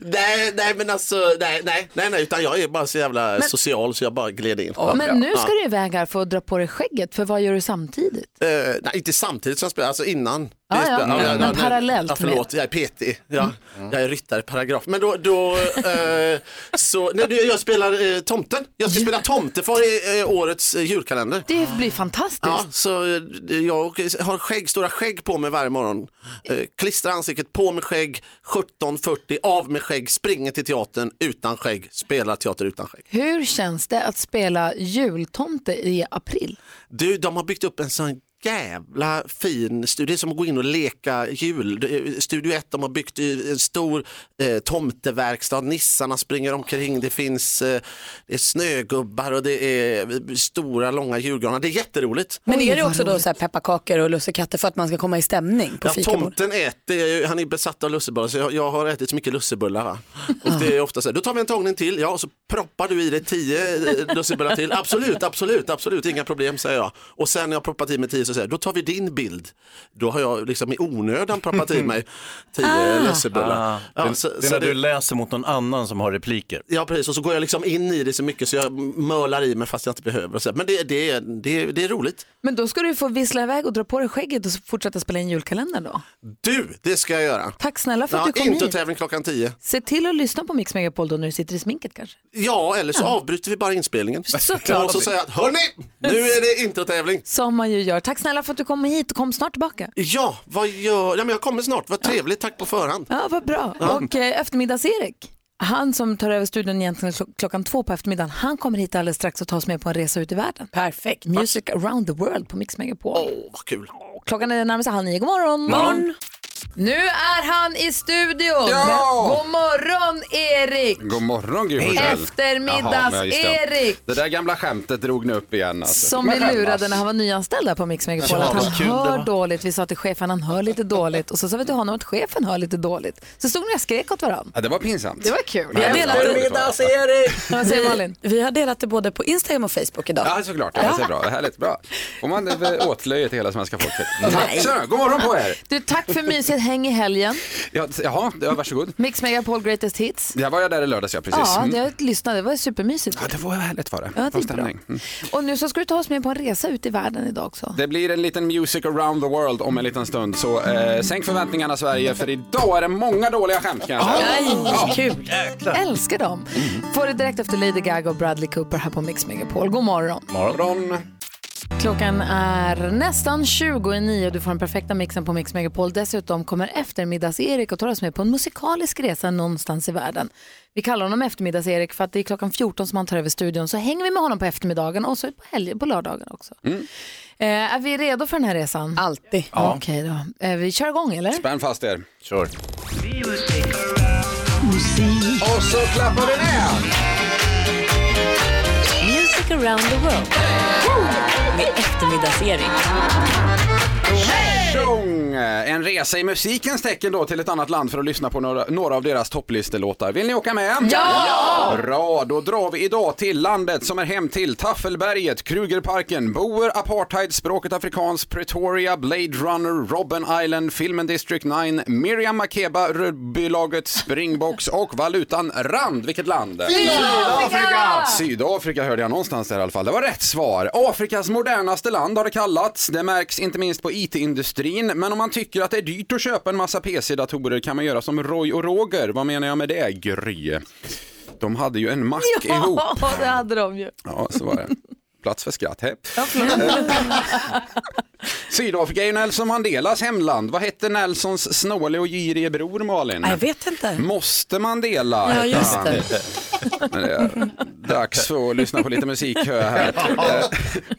S20: Nej, nej, men alltså, nej, nej, nej, nej, utan jag är bara så jävla
S1: Men-
S20: social så jag bara gled in.
S1: Men nu ska
S20: Ja.
S1: du iväg här för att dra på dig skägget, för vad gör du samtidigt? Ah,
S20: Eh, nej, inte samtidigt som jag spelar, alltså innan.
S1: Ja,
S20: Det
S1: ja,
S20: spelar-
S1: men-
S20: ja,
S1: men
S20: nej,
S1: parallellt Mm.
S20: Ja, förlåt, jag är petig. Ja, Jag är ryttare, paragraf. Men då, då eh, så, nej, du, jag spelar eh, tomten. Jag ska spela tomtefar i eh, årets eh, julkalender.
S1: Det blir fantastiskt.
S20: Ja, så eh, jag åker- har skägg, stora skägg på mig varje morgon. Eh, klistrar ansiktet på med skägg, 17.40, av med skägg, springer till teatern utan skägg, spelar teater utan skägg.
S1: Hur känns det att spela jultomte i april?
S20: Du, de har byggt upp en sån jävla fin studio. Det är som att gå in och leka jul. Det- eh, Studio 1, de har byggt i en stor eh, tomteverkstad, nissarna springer omkring, det finns eh, det är snögubbar och det är stora långa julgranar. Det är jätteroligt.
S4: Men är det också då så här pepparkakor och lussekatter för att man ska komma i stämning på
S20: Ja,
S4: fikabordet?
S20: tomten äter, ju- han är besatt av lussebullar så jag, jag har ätit så mycket lussebullar. Va? Och det är ofta så här, då tar vi en tagning till, ja och så proppar du i dig tio eh, lussebullar till. Absolut, absolut, absolut, inga problem säger jag. Och sen när jag proppat i mig tio så säger jag, då tar vi din bild. Då har jag liksom i onödan proppat i mig tio lussebullar.
S3: Ah,
S20: Ja,
S3: det,
S20: så-
S3: det är
S20: så
S3: när du
S20: det-
S3: läser mot någon annan som har repliker.
S20: Ja precis, och så går jag liksom in i det så mycket så jag mölar i mig fast jag inte behöver. och Så här. Men det, det, det, det är roligt.
S1: Men då ska du få vissla iväg och dra på dig skägget och så fortsätta spela in julkalendern då.
S20: Du, det ska jag göra.
S1: Tack snälla för att
S20: ja,
S1: du kom hit.
S20: Intotävling klockan tio.
S1: Se till att lyssna på Mix Megapol då när du sitter i sminket kanske.
S20: Ja, eller så avbryter vi bara inspelningen.
S1: Såklart.
S20: Och så säger jag, hörni, nu är det inte tävling.
S1: Som man ju gör. Tack snälla för att du kom hit och kom snart tillbaka.
S20: Ja, vad gör... Ja, men jag kommer snart, vad trevligt, tack på förhand.
S1: Ja, vad bra. Och eh, eftermiddags-Erik, han som tar över studion egentligen klo- klockan två på eftermiddagen, han kommer hit alldeles strax och tar oss med på en resa ut i världen.
S4: Perfekt.
S1: Music around the world på Mix Megapol.
S20: Vad kul.
S1: Klockan är närmare sig halv nio. God morgon.
S20: Morgon.
S2: Nu är han i studion!
S21: Ja!
S2: God morgon Erik!
S21: God morgon Gry
S2: Hej.
S21: Forssell.
S2: Eftermiddags-
S21: Jaha, men just det.
S2: Erik.
S21: Det där gamla skämtet drog ni upp igen. Alltså.
S2: Som
S21: Men
S2: vi
S21: skämmas.
S2: lurade när han var nyanställd där på Mix Megapol
S21: Ja,
S2: att
S21: vad
S2: han
S21: kul det
S2: hör
S21: var.
S2: dåligt. Vi sa till chefen han hör lite dåligt och så sa vi till honom att chefen hör lite dåligt. Så stod ni och skrek åt varandra.
S21: Ja, det var pinsamt.
S2: Det var kul.
S21: Men-
S4: Vad
S2: säger Malin?
S4: Vi har delat det både på Instagram och Facebook idag.
S21: Ja, såklart. Ja, det är bra. Härligt. Bra. Får man eh, åtlöje till hela svenska folket.
S2: Nej.
S21: Tjena, god morgon på er.
S2: Du, tack för mysigt häng i helgen.
S21: Ja, t- jaha, ja, varsågod.
S2: Mix Megapol Greatest Hits.
S21: Jag var jag där i lördags, ja precis.
S2: Ja,
S21: Mm.
S2: jag lyssnade. Det var supermysigt.
S21: Ja, det var härligt var det.
S2: Ja, det är
S21: Bra
S2: bra.
S21: stämning. Mm.
S2: Och nu så ska du ta oss med på en resa ut i världen idag också.
S21: Det blir en liten music around the world om en liten stund, så eh, sänk förväntningarna Sverige, för idag är det många dåliga skämt kan jag säga.
S4: kul.
S2: Älskar dem.
S21: Mm.
S2: Får det direkt efter Lady Gaga och Bradley Cooper här på Mix Megapol. God morgon.
S21: Morgon.
S2: Klockan är nästan 20 i nio och du får den perfekta mixen på Mix Megapol. Dessutom kommer eftermiddags-Erik och tar oss med på en musikalisk resa någonstans i världen. Vi kallar honom eftermiddags-Erik för att det är klockan 14 som han tar över studion. Så hänger vi med honom på eftermiddagen och så på, helg- på lördagen också.
S21: Mm.
S2: Eh, är vi redo för den här resan? Alltid.
S21: Ja.
S2: Okej då. Eh, vi kör igång eller?
S21: Spänn fast er.
S3: Kör.
S21: Och så klappar vi ner!
S22: Music around the world. Med eftermiddags-Erik.
S21: Tjong! En resa i musikens tecken då till ett annat land för att lyssna på några, några av deras topplistelåtar. Vill ni åka med?
S23: Ja!
S21: Bra, då drar vi idag till landet som är hem till Taffelberget, Krugerparken, Boer, Apartheid, Språket Afrikans, Pretoria, Blade Runner, Robben Island, filmen District 9, Miriam Makeba, Rugbylaget, Springboks och valutan Rand. Vilket land?
S23: Sydafrika!
S21: Sydafrika hörde jag någonstans där i alla fall. Det var rätt svar. Afrikas modernaste land har det kallats. Det märks inte minst på IT-industrin. Men om man tycker att det är dyrt att köpa en massa PC-datorer kan man göra som Roy och Roger. Vad menar jag med det, Gry? De hade ju en mack ihop.
S2: Ja, det hade de ju.
S21: Ja, så var det. Plats för skratt. Hej. Sydafrika är ju Nelson Mandelas hemland. Vad hette Nelsons snåle och girige bror Malin?
S4: Jag vet inte.
S21: Måste Mandela
S4: Ja,
S21: hette
S4: just
S21: han.
S4: det.
S21: Men det är Dags för att lyssna på lite musik hör jag här. Eh,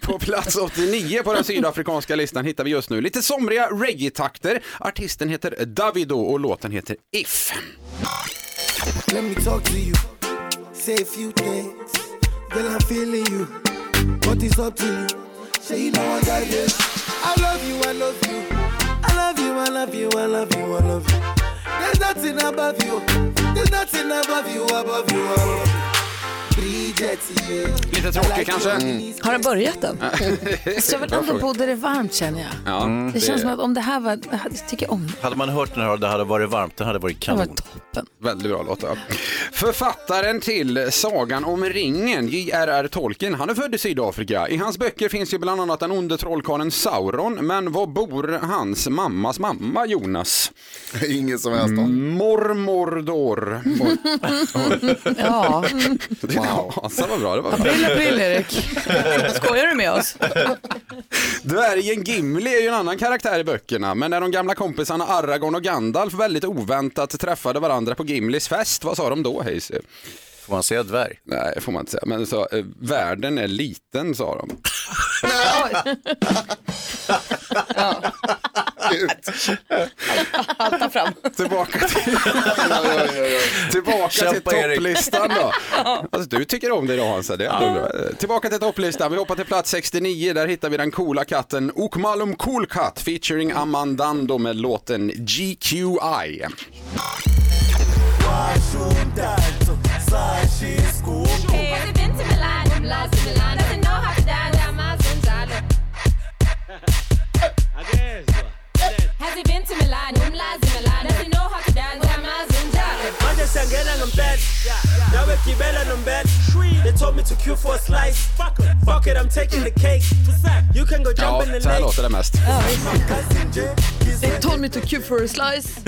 S21: På plats 89 på den sydafrikanska listan hittar vi just nu lite somriga reggae-takter. Artisten heter Davido och låten heter If.
S24: Let me talk to you, say a few things. Girl, I'm feeling you, but it's up to you. Say you know I got this. I love you, I love you, I love you, I love you, I love you, I love you. There's nothing above you, there's nothing above you, above you, above you. Bridget, yeah.
S21: Lite tråkig kanske?
S3: Mm.
S2: Har den börjat än? Så väl
S3: Bra
S2: ändå
S3: fråga.
S2: bodde det varmt känner jag.
S21: Ja,
S3: Mm.
S2: Det känns som att om det här var, jag tycker om det.
S3: Hade man hört den här och det hade varit varmt, den hade varit
S2: var
S3: kanon.
S21: Väldigt bra låt. ja. Författaren till Sagan om ringen, J.R.R. Tolkien, han är född i Sydafrika. I hans böcker finns ju bland annat den onde trollkarlen Sauron, men var bor hans mammas mamma Jonas?
S13: Ingen som helst
S21: Mormordor.
S4: Ja.
S21: Wow. Fasen vad bra det var.
S4: April, april, Erik. Skojar du med oss?
S21: Dvärgen Gimli är ju en annan karaktär i böckerna, men när de gamla kompisarna Aragorn och Gandalf väldigt oväntat träffade varandra på Gimlis fest, vad sa de då Hayes?
S3: Får man säga dvärg?
S21: Nej, får man inte säga. Men så, eh, världen är liten sa de.
S4: Halta fram.
S21: Tillbaka till, Tillbaka till
S4: Kämpa, Erik.
S21: topplistan då. Alltså, du tycker om det idag Hansa. Det är ändå bra. Eh, Tillbaka till topplistan. Vi hoppar till plats 69. Där hittar vi den coola katten Okmalum Cool Cat featuring Amandando med låten GQI.
S11: I just sang Gelen on bed. Now we're Gibelin on bed. They told me to queue for a slice. Fuck it, fuck it, I'm taking the cake. You can go jump
S21: Ja,
S11: in the
S21: så här låter det mest.
S1: They told me to queue for a slice.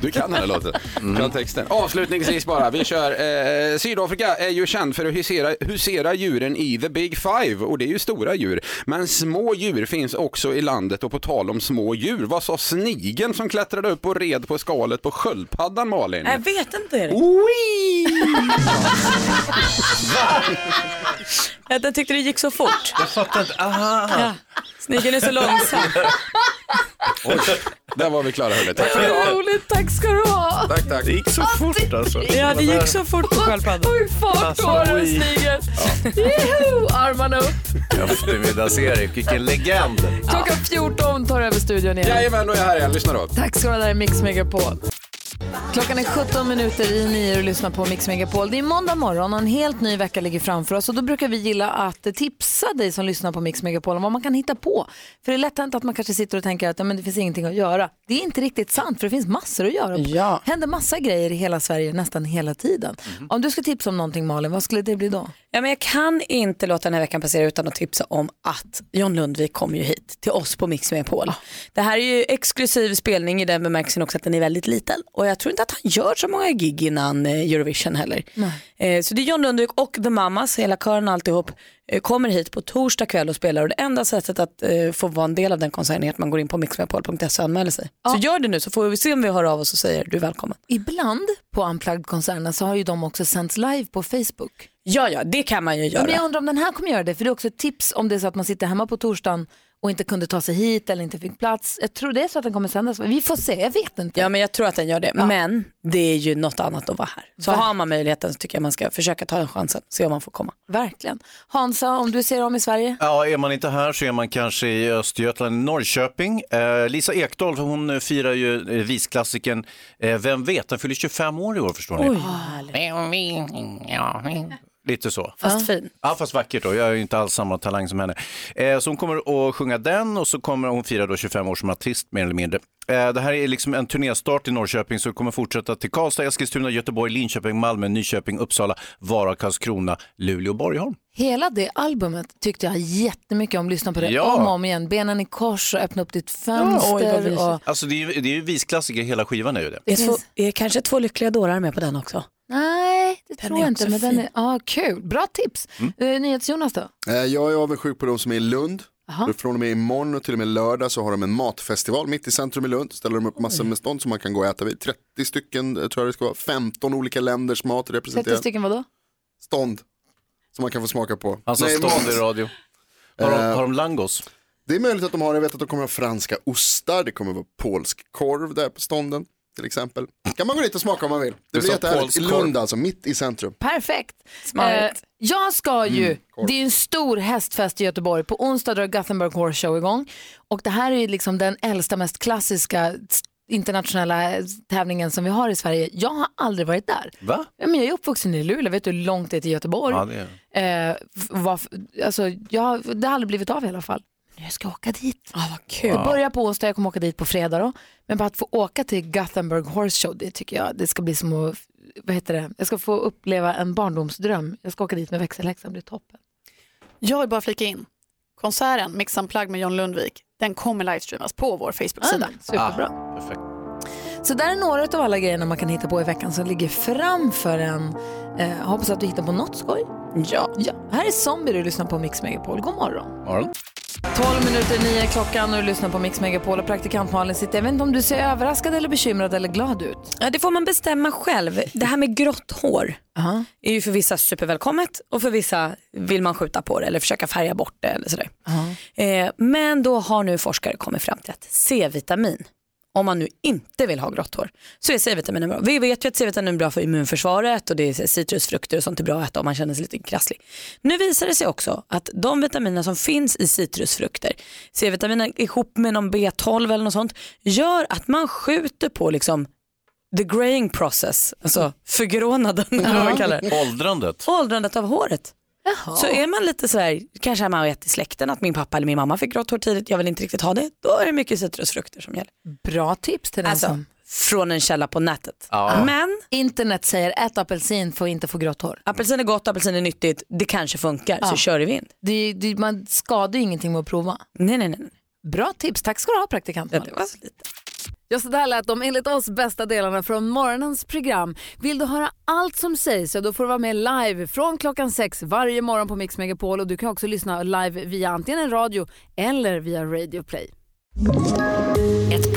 S21: Du kan den här låten. Kan texten. Avslutningsvis bara, vi kör. Eh, Sydafrika är ju känd för att husera, husera djuren i the big five och det är ju stora djur. Men små djur finns också i landet och på tal om små djur, vad sa snigeln som klättrade upp och red på skalet på sköldpaddan Malin?
S4: Jag vet inte Erik. Jag jag tyckte det gick så fort.
S3: Jag fattar inte. Aha.
S4: Ja. Snigeln är så långsam.
S21: Oj, där var vi klara hörni. Tack för
S1: Vad
S21: idag.
S1: roligt, tack ska du ha.
S21: Tack, tack. Det gick så fort alltså.
S4: Ja, det gick så fort på sköldpaddan.
S1: Oj, fart du har över snigeln. Jeho, Armarna upp.
S3: Eftermiddags-Erik, vilken legend.
S1: Klockan 14 tar du över studion igen.
S21: Jajamän, då är jag här igen. Lyssna då.
S1: Tack ska du ha, där är Mix Megapol. Klockan är 17 minuter i nio och du lyssnar på Mix Megapol. Det är måndag morgon och en helt ny vecka ligger framför oss och då brukar vi gilla att tipsa dig som lyssnar på Mix Megapol om vad man kan hitta på. För det är lätt hänt att man kanske sitter och tänker att ja, men det finns ingenting att göra. Det är inte riktigt sant för det finns massor att göra. Ja. Mhm. händer massa grejer i hela Sverige nästan hela tiden. Om du ska tipsa om någonting Malin, vad skulle det bli då?
S4: Ja, men jag kan inte låta den här veckan passera utan att tipsa om att John Lundvik kom ju hit till oss på Mix Megapol. Det här är ju exklusiv spelning i den bemärkelsen också att den är väldigt liten och jag tror inte att han gör så många gig innan eh, Eurovision heller. Eh, Så det är John Lundvik och The Mamas, hela kören och alltihop, eh, kommer hit på torsdag kväll och spelar och det enda sättet att eh, få vara en del av den konserten är att man går in på mixmegapol.se och anmäler sig. Så gör det nu så får vi se om vi hör av oss och säger du är välkommen.
S1: Ibland på Unplugged-koncernerna så har ju de också sänts live på Facebook.
S4: Ja, ja, det kan man ju göra.
S1: Men jag undrar om den här kommer göra det, för det är också ett tips om det är så att man sitter hemma på torsdagen och inte kunde ta sig hit eller inte fick plats. Jag tror det är så att den kommer sändas. Vi får se, jag vet inte.
S4: Ja men jag tror att den gör det. Men det är ju något annat att vara här. Så
S1: Verkligen.
S4: har man möjligheten så tycker jag man ska försöka ta en chansen. Se om man får komma.
S1: Verkligen. Hansa, om du ser om i Sverige?
S3: Ja, är man inte här så är man kanske i Östergötland, Norrköping. Eh, Lisa Ekdahl, hon eh, firar ju eh, visklassikern eh, Vem vet, den fyller 25 år i år förstår ni. Lite så.
S4: Fast fin.
S3: Ja, fast vackert då. Jag har ju inte alls samma talang som henne. Eh, så hon kommer att sjunga den och så kommer hon fira då 25 år som artist mer eller mindre. Eh, det här är liksom en turnéstart i Norrköping så det kommer fortsätta till Karlstad, Eskilstuna, Göteborg, Linköping, Malmö, Nyköping, Uppsala, Vara, Karlskrona, Luleå, Borgholm.
S1: Hela det albumet tyckte jag jättemycket om. Lyssna på det
S3: Ja.
S1: om och om igen. Benen i kors och öppna upp ditt fönster. och...
S3: Alltså det är ju, det är ju visklassiker, hela skivan är ju det.
S4: Det är, två, är kanske två lyckliga dårar med på den också.
S1: Nej, det tror
S4: är
S1: jag inte.
S4: också
S1: Men den
S4: fin. Mm.
S1: är... ah, kul. Bra tips. Eh, NyhetsJonas då?
S13: Eh, Jag är avundsjuk på de som är i Lund.
S1: Aha.
S13: För Från och med imorgon och till och med lördag så har de en matfestival mitt i centrum i Lund. Ställer de upp massor med stånd som man kan gå och äta vid. 30 stycken eh, tror jag det ska vara. 15 olika länders mat
S1: 30
S13: representerat.
S1: stycken vadå?
S13: Stånd. Som man kan få smaka på.
S3: Alltså
S13: Nej,
S3: stånd
S13: mat.
S3: i radio. Har de,
S13: Eh,
S3: har de langos?
S13: Det är möjligt att de har, jag vet att de kommer ha franska ostar, det kommer vara polsk korv där på stånden till exempel. Kan man gå dit och smaka om man vill.
S3: Det
S13: Det
S3: är
S13: blir
S3: som
S13: jättehärligt.
S3: polsk
S13: I
S3: korv.
S13: Lund alltså, mitt i centrum.
S1: Perfekt.
S4: Smarrigt.
S1: Eh, jag ska ju,
S13: Mm, korv.
S1: det är ju en stor hästfest i Göteborg. På onsdag drar Gothenburg Horse Show igång. Och det här är ju liksom den äldsta, mest klassiska s- internationella eh, tävlingen som vi har i Sverige. Jag har aldrig varit där.
S3: Va?
S1: Ja, men jag är uppvuxen i Luleå, vet du hur långt det är till Göteborg?
S3: Ja, det är det.
S1: Eh, f- varf- alltså, jag, det har aldrig blivit av i alla fall. Nu ska jag åka dit.
S4: Ah, vad kul.
S1: Det börjar på onsdag, jag kommer åka dit på fredag då. Men bara att få åka till Gothenburg Horse Show, det tycker jag, det ska bli som att, vad heter det, jag ska få uppleva en barndomsdröm. Jag ska åka dit med växelhäxan, det blir toppen.
S7: Jag vill bara flika in. Konserten Mix Unplugged med John Lundvik, den kommer livestreamas på vår Facebook-sida.
S1: Mm, superbra.
S3: perfekt.
S1: Så där är några av alla grejerna man kan hitta på i veckan som ligger framför en. Eh, hoppas att du hittar på något skoj.
S4: Ja.
S1: ja. Här är Zombie du lyssnar på Mix Megapol. God morgon.
S3: Morgon.
S1: 12 minuter nio är klockan och du lyssnar på Mix Megapol och praktikant Malin sitter. Jag vet inte om du ser överraskad eller bekymrad eller glad ut.
S4: Ja, det får man bestämma själv. Det här med grått hår är ju för vissa supervälkommet och för vissa vill man skjuta på det eller försöka färga bort det eller sådär. Eh, men då har nu forskare kommit fram till att C-vitamin, om man nu inte vill ha grått hår, så är C-vitamin bra. Vi vet ju att C-vitamin är bra för immunförsvaret och det är citrusfrukter och sånt är bra att äta om man känner sig lite krasslig. Nu visar det sig också att de vitaminer som finns i citrusfrukter, C-vitaminer ihop med någon B12 eller något sånt, gör att man skjuter på liksom the graying process, alltså förgrånaden eller vad man kallar det.
S3: Åldrandet.
S4: Åldrandet av håret. Så är man lite sådär, kanske hemma och äter i släkten, att min pappa eller min mamma fick grått hår tidigt, jag vill inte riktigt ha det, då är det mycket citrusfrukter som gäller.
S1: Bra tips till den
S4: Alltså,
S1: som...
S4: från en källa på nätet. Men
S1: Internet säger ät apelsin för att inte få grått hår.
S4: apelsin är gott, apelsin är nyttigt, det kanske funkar,
S1: Ja.
S4: så kör vi in.
S1: Det, det, man skadar ju ingenting med att prova.
S4: Nej, nej, nej.
S1: Bra tips. Tack ska du ha praktikant Malin.
S25: Ja, så där lät de enligt oss bästa delarna från morgonens program. Vill du höra allt som sägs så då får du vara med live från klockan sex varje morgon på Mix Megapol och du kan också lyssna live via antingen en radio eller via Radio Play.
S26: Ett